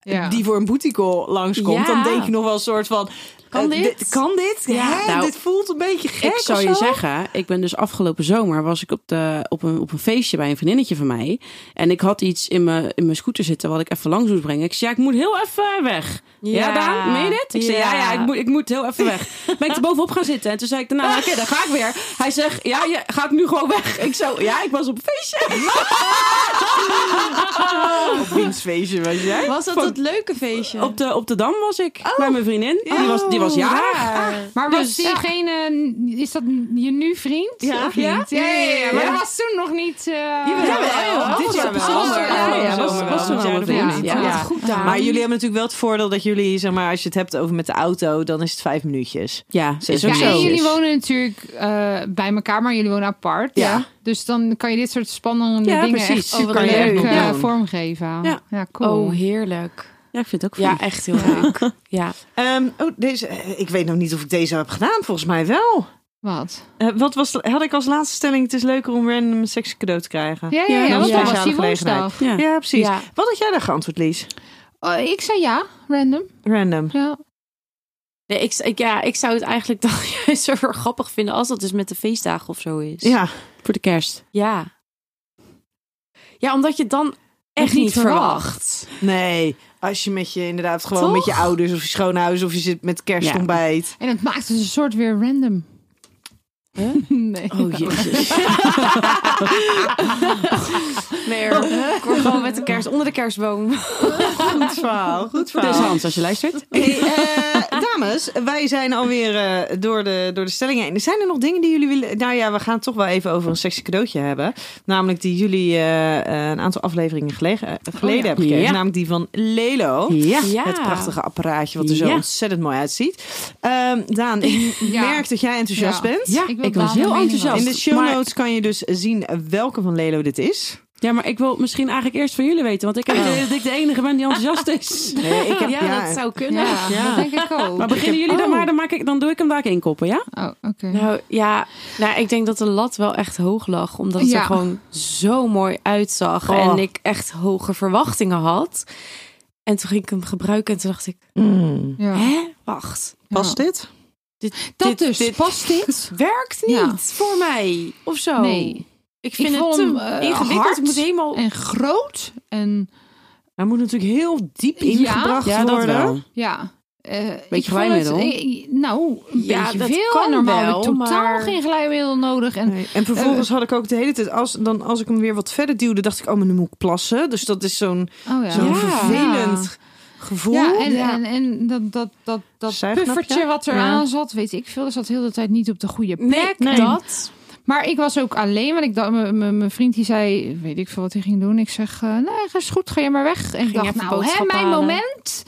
Speaker 4: Ja.
Speaker 3: die voor een booty call langskomt,
Speaker 2: Ja.
Speaker 3: dan denk je nog wel een soort van...
Speaker 2: Kan
Speaker 3: eh,
Speaker 2: dit?
Speaker 3: kan dit?
Speaker 2: Ja.
Speaker 3: Hè?
Speaker 5: Nou,
Speaker 3: dit voelt een beetje gek
Speaker 5: Ik zou
Speaker 3: of
Speaker 5: je
Speaker 3: zo.
Speaker 5: zeggen, ik ben dus afgelopen zomer was ik op, de, op, een, op een feestje bij een vriendinnetje van mij. En ik had iets in mijn, in mijn scooter zitten wat ik even langs moest brengen. Ik zei, ja, ik moet heel even weg. Ja,
Speaker 2: Ja.
Speaker 5: Daan, meen je dit? Ik zei, ja,
Speaker 2: Ja.
Speaker 5: ja, ik moet, ik moet heel even weg. Ben ik er bovenop gaan zitten. En toen zei ik daarna, nou, oké, dan ga ik weer. Hij zegt, ja, je gaat nu gewoon weg. Ik zo, ja, ik was op een feestje.
Speaker 3: Op wiens feestje was jij?
Speaker 2: Was dat
Speaker 5: Van-
Speaker 2: het leuke feestje?
Speaker 5: Op de, op de Dam was ik, bij mijn vriendin. Die was, die was jarig.
Speaker 2: ja.
Speaker 4: Maar was
Speaker 5: Dus-
Speaker 4: diegene, is dat je nu vriend?
Speaker 2: Ja.
Speaker 4: Of niet? Ja, ja, ja, ja. Maar
Speaker 5: Ja.
Speaker 4: dat was toen nog niet... eh,
Speaker 3: Jawel,
Speaker 4: ja,
Speaker 3: dit
Speaker 4: was
Speaker 3: jaar
Speaker 4: dat
Speaker 3: wel.
Speaker 4: precies.
Speaker 3: Oh,
Speaker 4: Ja, ja, ja,
Speaker 5: was-
Speaker 4: was-
Speaker 5: was toen wel wat
Speaker 4: ja.
Speaker 5: vriend.
Speaker 4: Ja.
Speaker 2: Ja.
Speaker 4: Goed
Speaker 2: Ja.
Speaker 4: daar.
Speaker 3: Maar jullie hebben natuurlijk wel het voordeel dat jullie, zeg maar, als je het hebt over met de auto, dan is het vijf minuutjes.
Speaker 5: Ja, is ook
Speaker 4: Ja, en
Speaker 5: zo.
Speaker 4: jullie wonen natuurlijk eh, bij elkaar, maar jullie wonen apart.
Speaker 3: Ja.
Speaker 4: Dus dan kan je dit soort spannende
Speaker 5: Ja,
Speaker 4: dingen
Speaker 5: precies.
Speaker 4: echt
Speaker 5: Oh,
Speaker 2: wat
Speaker 4: super
Speaker 2: leuk.
Speaker 4: leuk eh,
Speaker 3: Doen.
Speaker 4: vormgeven. Ja, cool.
Speaker 2: Oh, heerlijk.
Speaker 5: Ja, ik vind het ook fijn.
Speaker 2: Ja, echt heel leuk. Ja.
Speaker 3: Ehm, oh, deze, eh, ik weet nog niet of ik deze heb gedaan, volgens mij wel.
Speaker 4: Wat?
Speaker 3: Eh, wat was, de- had ik als laatste stelling, het is leuker om random een seks cadeau te krijgen.
Speaker 4: Ja, ja, ja,
Speaker 5: dat
Speaker 4: want
Speaker 2: is
Speaker 4: dat
Speaker 3: een
Speaker 4: was die
Speaker 3: speciale
Speaker 4: woensdag.
Speaker 5: Ja.
Speaker 3: Ja, precies.
Speaker 2: Ja.
Speaker 3: Wat had jij daar geantwoord, Lies?
Speaker 4: Oh, ik zei ja, random.
Speaker 3: Random.
Speaker 4: Ja.
Speaker 2: Nee, ik, ik- ja, ik zou het eigenlijk dan juist zo erg grappig vinden als dat dus met de feestdagen of zo is.
Speaker 3: Ja.
Speaker 5: Voor de kerst.
Speaker 2: Ja, ja omdat je het dan echt
Speaker 4: niet
Speaker 2: niet verwacht.
Speaker 3: Nee, als je met je inderdaad gewoon
Speaker 2: Toch?
Speaker 3: met je ouders of je schoonouders of je zit met kerstontbijt.
Speaker 4: En het maakt dus een soort weer random. Nee.
Speaker 5: Oh, jezus.
Speaker 2: Nee, hoor. ik word gewoon met de kerst onder de kerstboom.
Speaker 3: Goed verhaal, goed
Speaker 5: Dus Hans, als je luistert.
Speaker 3: Hey, eh, dames, wij zijn alweer eh, door, de, door de stellingen heen. Zijn er nog dingen die jullie willen... Nou ja, we gaan het toch wel even over een sexy cadeautje hebben. Namelijk die jullie eh, eh, een aantal afleveringen gelegen, eh, geleden
Speaker 4: Oh ja.
Speaker 3: hebben gekregen.
Speaker 5: Ja.
Speaker 3: Namelijk die van Lelo.
Speaker 5: Ja.
Speaker 2: Ja.
Speaker 3: Het prachtige apparaatje wat er zo
Speaker 5: Ja.
Speaker 3: ontzettend mooi uitziet. Ehm, Daan, ik
Speaker 4: Ja.
Speaker 3: merk dat jij enthousiast
Speaker 4: Ja.
Speaker 3: bent.
Speaker 5: Ja,
Speaker 4: Ik
Speaker 5: ik,
Speaker 4: wil
Speaker 5: was
Speaker 4: Daan
Speaker 5: heel
Speaker 4: een mening
Speaker 5: enthousiast.
Speaker 3: In de show
Speaker 5: Maar-
Speaker 3: notes kan je dus zien welke van Lelo dit is.
Speaker 5: ja, maar ik wil misschien eigenlijk eerst van jullie weten. Want ik heb het idee dat ik de enige ben die enthousiast is.
Speaker 3: Nee, ik heb,
Speaker 2: Oh, Ja, dat zou kunnen.
Speaker 4: Ja,
Speaker 5: Ja.
Speaker 4: dat denk ik ook.
Speaker 5: Maar beginnen jullie dan
Speaker 4: Oh.
Speaker 5: maar, dan, maak ik, dan doe ik hem daar inkoppen, ja?
Speaker 4: Oh, oké.
Speaker 2: Nou ja, nou, ik denk dat de lat wel echt hoog lag. Omdat het
Speaker 4: Ja.
Speaker 2: er gewoon zo mooi uitzag.
Speaker 3: Oh.
Speaker 2: En ik echt hoge verwachtingen had. En toen ging ik hem gebruiken en toen dacht ik,
Speaker 3: Mm.
Speaker 4: Ja.
Speaker 2: hè, wacht.
Speaker 3: Past dit?
Speaker 4: Dat
Speaker 2: Dit-
Speaker 4: dus.
Speaker 2: dit-
Speaker 4: Past dit?
Speaker 2: Werkt niet
Speaker 4: Ja.
Speaker 2: voor mij. Of zo.
Speaker 4: Nee.
Speaker 2: Ik vind het
Speaker 4: vond
Speaker 2: te
Speaker 4: hem, eh,
Speaker 2: ingewikkeld.
Speaker 4: hard
Speaker 2: Ik moet helemaal...
Speaker 4: En groot en...
Speaker 3: Hij moet natuurlijk heel diep ingebracht
Speaker 5: Ja, dat
Speaker 3: worden.
Speaker 5: wel.
Speaker 4: Ja. eh, ik vond
Speaker 5: glijmiddel?
Speaker 4: het- eh, nou, een
Speaker 2: Ja,
Speaker 4: beetje
Speaker 2: dat
Speaker 4: veel.
Speaker 2: kan
Speaker 4: En normaal heb ik
Speaker 2: wel,
Speaker 4: totaal
Speaker 2: maar-
Speaker 4: geen glijmiddel nodig. En
Speaker 3: Nee, En vervolgens had ik ook de hele tijd, als, dan, als ik hem weer wat verder duwde, dacht ik, oh, maar nu moet ik plassen. Dus dat is zo'n
Speaker 4: Oh ja.
Speaker 3: zo'n
Speaker 2: Ja.
Speaker 3: vervelend gevoel.
Speaker 4: Ja, en,
Speaker 2: Ja.
Speaker 4: en, en dat, dat, dat, dat
Speaker 3: Zuignapje?
Speaker 4: puffertje wat er
Speaker 3: Ja.
Speaker 4: aan zat, weet ik veel, dat zat heel de hele tijd niet op de goede plek.
Speaker 2: Nee, dat.
Speaker 4: Maar ik was ook alleen, want ik dacht, m- m- mijn vriend die zei, weet ik veel wat hij ging doen. Ik zeg, eh nee, is goed, ga je maar weg. En ik dacht,
Speaker 2: even
Speaker 4: nou, hè,
Speaker 2: boodschappen
Speaker 4: mijn
Speaker 2: halen.
Speaker 4: moment,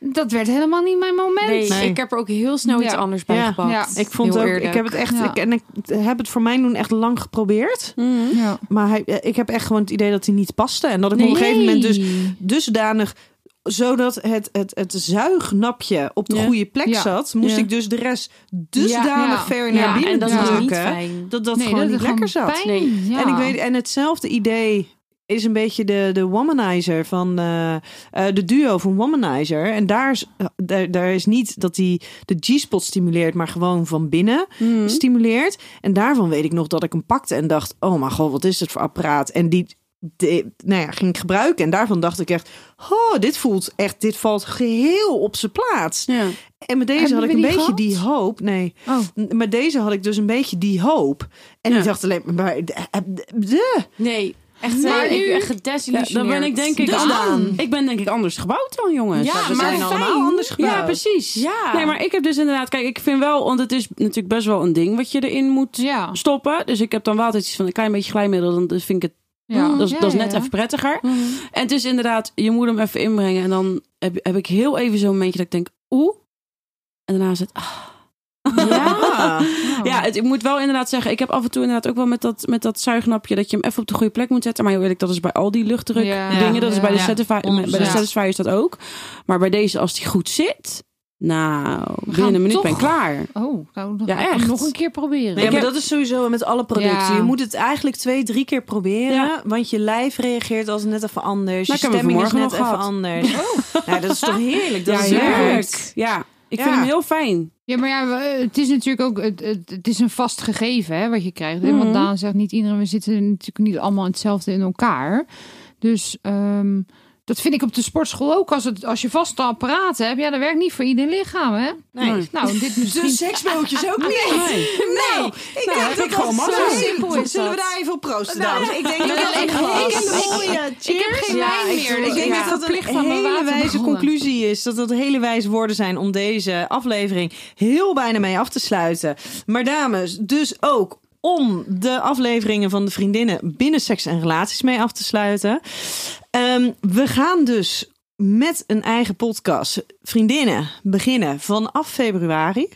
Speaker 4: dat werd helemaal niet mijn moment.
Speaker 2: Nee,
Speaker 3: Nee.
Speaker 2: ik heb er ook heel snel iets
Speaker 4: Ja.
Speaker 2: anders bij
Speaker 3: Ja.
Speaker 2: gepakt.
Speaker 4: Ja.
Speaker 3: Ik vond
Speaker 2: Heel
Speaker 3: ook,
Speaker 2: eerlijk.
Speaker 3: ik heb het echt,
Speaker 4: Ja.
Speaker 3: ik, en ik heb het voor mij doen echt lang geprobeerd.
Speaker 4: Ja.
Speaker 3: Maar hij, eh, ik heb echt gewoon het idee dat hij niet paste. En dat ik me op een gegeven moment dus dusdanig zodat het, het, het zuignapje op de
Speaker 5: Ja.
Speaker 3: goede plek
Speaker 4: Ja.
Speaker 3: zat, moest
Speaker 5: Ja.
Speaker 3: ik dus de rest dusdanig
Speaker 4: Ja.
Speaker 3: ver
Speaker 2: Ja,
Speaker 3: naar binnen
Speaker 2: en dat
Speaker 4: is
Speaker 2: was niet
Speaker 3: drukken.
Speaker 2: fijn.
Speaker 3: dat dat
Speaker 4: Nee,
Speaker 3: gewoon
Speaker 4: dat
Speaker 3: niet
Speaker 4: het gewoon
Speaker 3: lekker zat.
Speaker 4: pijn,
Speaker 2: Nee.
Speaker 4: ja.
Speaker 3: En, ik weet, en hetzelfde idee is een beetje de, de womanizer van eh, eh, de duo van womanizer. En daar is, eh, daar, daar is niet dat hij de G-spot stimuleert, maar gewoon van binnen
Speaker 4: Hmm.
Speaker 3: stimuleert. En daarvan weet ik nog dat ik hem pakte en dacht: oh mijn god, wat is dit voor apparaat? En die. de- nou ja, ging ik gebruiken en daarvan dacht ik echt: Oh, dit voelt echt, dit valt geheel op zijn plaats.
Speaker 5: Ja.
Speaker 3: En met deze
Speaker 4: Hebben
Speaker 3: had ik
Speaker 4: we
Speaker 3: een
Speaker 4: die
Speaker 3: beetje
Speaker 4: gehad?
Speaker 3: die hoop. Nee,
Speaker 4: Oh.
Speaker 3: N- Maar deze had ik dus een beetje die hoop. En
Speaker 5: Ja.
Speaker 3: ik dacht alleen maar... eh, eh, eh, eh,
Speaker 2: Nee, Echt,
Speaker 4: Maar
Speaker 2: maar
Speaker 4: nu-
Speaker 2: nu
Speaker 5: Ja,
Speaker 2: gedesillusioneerd.
Speaker 5: dan ben ik denk ik
Speaker 2: Dus
Speaker 5: aan-
Speaker 2: dan.
Speaker 5: Ik ben denk ik anders gebouwd dan jongens.
Speaker 3: Ja,
Speaker 5: we
Speaker 3: maar
Speaker 5: zijn
Speaker 3: fijn.
Speaker 5: allemaal anders gebouwd.
Speaker 3: Ja,
Speaker 5: Ja, precies.
Speaker 2: Ja.
Speaker 5: Nee, maar ik heb dus inderdaad, kijk, ik vind wel, want het is natuurlijk best wel een ding wat je erin moet
Speaker 4: Ja.
Speaker 5: stoppen. Dus ik heb dan wel altijd iets van een klein beetje glijmiddel, dan dus vind ik het,
Speaker 4: ja.
Speaker 5: dat, is,
Speaker 4: Ja,
Speaker 5: dat is
Speaker 4: ja,
Speaker 5: net
Speaker 4: ja.
Speaker 5: even prettiger. En het is inderdaad, je moet hem even inbrengen en dan heb, heb ik heel even zo'n momentje dat ik denk, oeh. En daarna is het, ah.
Speaker 3: Ja.
Speaker 4: Nou, Oh.
Speaker 5: Ja, het, ik moet wel inderdaad zeggen, ik heb af en toe inderdaad ook wel met dat, met dat zuignapje dat je hem even op de goede plek moet zetten. Maar heel eerlijk, dat is bij al die luchtdruk
Speaker 4: Ja.
Speaker 5: dingen, dat is bij de,
Speaker 4: Ja.
Speaker 5: Satisfy, bij de
Speaker 4: 100%.
Speaker 5: Satisfyer is dat ook. Maar bij deze, als die goed zit, nou, binnen een minuut
Speaker 4: toch-
Speaker 5: ben ik klaar.
Speaker 4: Oh, nou, dan
Speaker 5: Ja,
Speaker 4: ga ik hem
Speaker 5: echt.
Speaker 4: nog een keer proberen.
Speaker 3: Nee, maar
Speaker 5: Ik heb-
Speaker 3: dat is sowieso met alle producten.
Speaker 4: Ja.
Speaker 3: Je moet het eigenlijk twee, drie keer proberen.
Speaker 5: Ja.
Speaker 3: Want je lijf reageert als net even anders.
Speaker 5: Nou, ik
Speaker 3: je
Speaker 5: heb hem
Speaker 3: stemming is
Speaker 5: vanmorgen
Speaker 3: net
Speaker 5: nog
Speaker 3: even
Speaker 5: gehad.
Speaker 3: anders.
Speaker 5: Oh.
Speaker 3: Ja, dat is toch heerlijk? Dat
Speaker 5: ja,
Speaker 3: is
Speaker 5: heerlijk.
Speaker 3: werkt.
Speaker 5: Ja, ik
Speaker 3: Ja.
Speaker 5: vind hem heel fijn.
Speaker 4: Ja, maar ja, we- het is natuurlijk ook het, het, het is een vast gegeven hè, wat je krijgt. hè.
Speaker 5: Mhm.
Speaker 4: Want Daan zegt niet iedereen, we zitten natuurlijk niet allemaal hetzelfde in elkaar. Dus ehm, dat vind ik op de sportschool ook. Als, het, als je vaste apparaten hebt, ja, dat werkt niet voor ieder lichaam. Hè?
Speaker 5: Nee.
Speaker 4: Nou, dit misschien.
Speaker 3: De seksbootjes ook niet.
Speaker 5: Nee.
Speaker 3: Nee, ik denk
Speaker 5: heb
Speaker 3: dat
Speaker 5: ik
Speaker 3: dat
Speaker 5: gewoon mazzel.
Speaker 3: zo
Speaker 2: Simpel
Speaker 3: simpel
Speaker 2: is
Speaker 3: is. Zullen we
Speaker 2: dat.
Speaker 3: daar even op proosten,
Speaker 4: Nou,
Speaker 2: dus
Speaker 3: dames? Ik denk dat
Speaker 4: ik-
Speaker 3: dat
Speaker 4: ik-
Speaker 3: een
Speaker 4: ik-
Speaker 3: glas.
Speaker 4: ik- ik heb geen
Speaker 3: Ja,
Speaker 4: wijn
Speaker 3: ik
Speaker 4: meer.
Speaker 3: doe-
Speaker 4: dus
Speaker 3: Ik denk
Speaker 4: ben
Speaker 3: dat dat
Speaker 4: verplicht
Speaker 3: een
Speaker 4: aan mijn
Speaker 3: hele
Speaker 4: water
Speaker 3: wijze
Speaker 4: begonnen.
Speaker 3: conclusie is. Dat dat hele wijze woorden zijn om deze aflevering heel bijna mee af te sluiten. Maar dames, dus ook om de afleveringen van de vriendinnen binnen seks en relaties mee af te sluiten. Ehm, we gaan dus met een eigen podcast vriendinnen beginnen vanaf februari.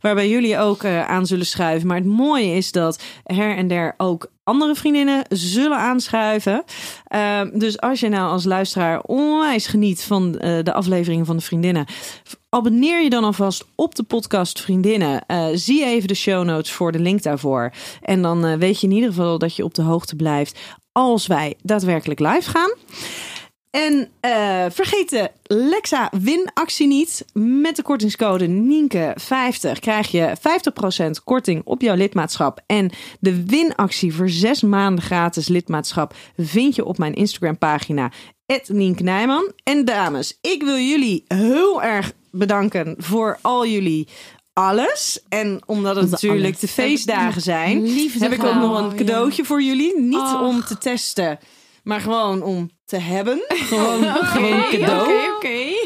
Speaker 3: Waarbij jullie ook eh, aan zullen schuiven. Maar het mooie is dat her en der ook andere vriendinnen zullen aanschuiven. Ehm, dus als je nou als luisteraar onwijs geniet van eh, de afleveringen van de vriendinnen. Abonneer je dan alvast op de podcast Vriendinnen. Eh, zie even de show notes voor de link daarvoor. En dan eh, weet je in ieder geval dat je op de hoogte blijft als wij daadwerkelijk live gaan. En eh, vergeet de Lexa winactie niet. Met de kortingscode Nienke50 krijg je 50% korting op jouw lidmaatschap. En de winactie voor zes maanden gratis lidmaatschap vind je op mijn Instagram pagina. Nienke Nijman. En dames, ik wil jullie heel erg bedanken voor al jullie alles. En omdat het natuurlijk de feestdagen zijn,
Speaker 4: Liefde
Speaker 3: heb ik ook nog een
Speaker 2: ja.
Speaker 3: cadeautje voor jullie. Niet
Speaker 2: Ach.
Speaker 3: om te testen. Maar gewoon om te hebben. Gewoon, gewoon
Speaker 2: Oké,
Speaker 3: cadeau.
Speaker 2: Oké, oké.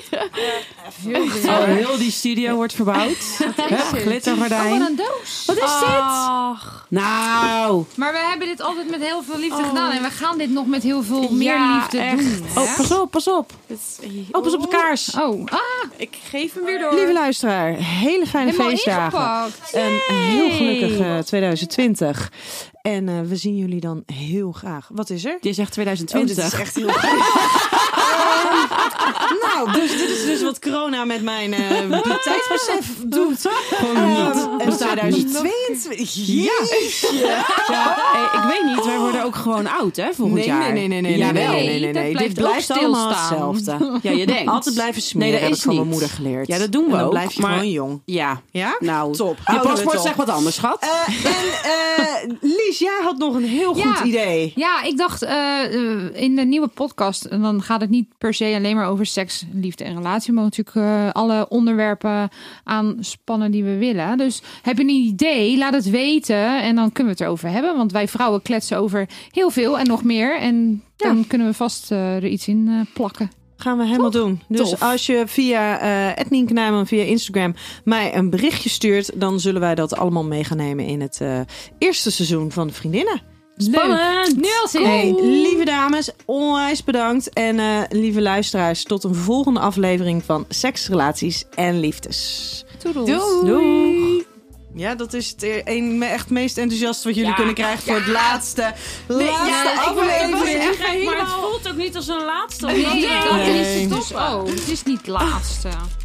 Speaker 5: Oh, heel die studio wordt verbouwd. Hè,
Speaker 4: Oh, wat
Speaker 5: Glittergordijn.
Speaker 4: een doos.
Speaker 5: Wat is dit?
Speaker 2: Ach,
Speaker 5: Nou.
Speaker 4: Maar we hebben dit altijd met heel veel
Speaker 3: Oh.
Speaker 4: liefde gedaan. En we gaan dit nog met heel veel meer
Speaker 2: Ja,
Speaker 4: liefde doen.
Speaker 2: echt.
Speaker 5: Oh, pas op, pas op.
Speaker 2: dit is-
Speaker 5: Oh, pas op de kaars.
Speaker 4: Oh, ah,
Speaker 2: Ik geef hem weer door.
Speaker 3: Lieve luisteraar, hele fijne
Speaker 4: helemaal
Speaker 3: feestdagen.
Speaker 4: ingepakt.
Speaker 3: En een heel gelukkig eh, 2020. En eh, we zien jullie dan heel graag. Wat is er?
Speaker 5: Je zegt
Speaker 3: Oh, dit
Speaker 5: 2020.
Speaker 3: is echt heel Ehm, Nou, dus dit is dus wat corona met mijn eh tijdsbesef doet. Gewoon niet. En 2022. Jeetje.
Speaker 5: Ja, eh, ik weet niet, wij worden ook gewoon oud, hè, volgend
Speaker 3: Oh. Nee,
Speaker 5: jaar.
Speaker 3: nee, nee, nee, nee, nee,
Speaker 5: Jawel.
Speaker 3: nee, nee, nee,
Speaker 4: Nee, dat
Speaker 3: nee.
Speaker 4: blijft
Speaker 3: Dit blijft
Speaker 4: ook
Speaker 3: allemaal
Speaker 4: stilstaan.
Speaker 3: hetzelfde.
Speaker 5: Ja, je denkt.
Speaker 3: Altijd blijven smeren,
Speaker 5: Nee, dat
Speaker 3: heb ik
Speaker 5: is
Speaker 3: van mijn
Speaker 5: niet.
Speaker 3: moeder geleerd.
Speaker 5: Ja, dat doen we
Speaker 3: en dan
Speaker 5: ook,
Speaker 3: blijf je
Speaker 5: maar-
Speaker 3: gewoon jong.
Speaker 5: Ja.
Speaker 3: Ja?
Speaker 5: Nou,
Speaker 3: Top.
Speaker 5: je
Speaker 3: Houden we het
Speaker 5: paspoort
Speaker 3: op.
Speaker 5: zegt wat anders, schat.
Speaker 3: Eh, en eh, Lies, jij had nog een heel
Speaker 4: Ja.
Speaker 3: goed idee.
Speaker 4: Ja, ik dacht eh, eh, in de nieuwe podcast, en dan gaat het niet per se alleen maar over seks, liefde en relatie, maar natuurlijk eh, alle onderwerpen aanspannen die we willen. Dus heb je een idee, laat het weten en dan kunnen we het erover hebben. Want wij vrouwen kletsen over heel veel en nog meer. En dan kunnen we vast eh, er iets in eh, plakken.
Speaker 3: Gaan we helemaal doen. Dus
Speaker 4: Tof.
Speaker 3: als je via eh Ednien Knijman, via Instagram, mij een berichtje stuurt, dan zullen wij dat allemaal mee gaan nemen in het eh, eerste seizoen van de Vriendinnen.
Speaker 5: Spannend.
Speaker 4: Leuk. Nu al zin
Speaker 3: Hey,
Speaker 4: in.
Speaker 3: lieve dames, onwijs bedankt. En eh, lieve luisteraars, tot een volgende aflevering van Seks, Relaties en Liefdes.
Speaker 4: Toedels.
Speaker 2: Doei.
Speaker 5: Doei.
Speaker 3: Ja, dat is het e- een, me- echt meest enthousiaste wat jullie
Speaker 5: Ja.
Speaker 3: kunnen krijgen voor het laatste, laatste aflevering.
Speaker 5: maar het voelt ook niet als een laatste.
Speaker 4: Nee, dat is
Speaker 3: Nee.
Speaker 4: het toch. Oh, het is niet het laatste.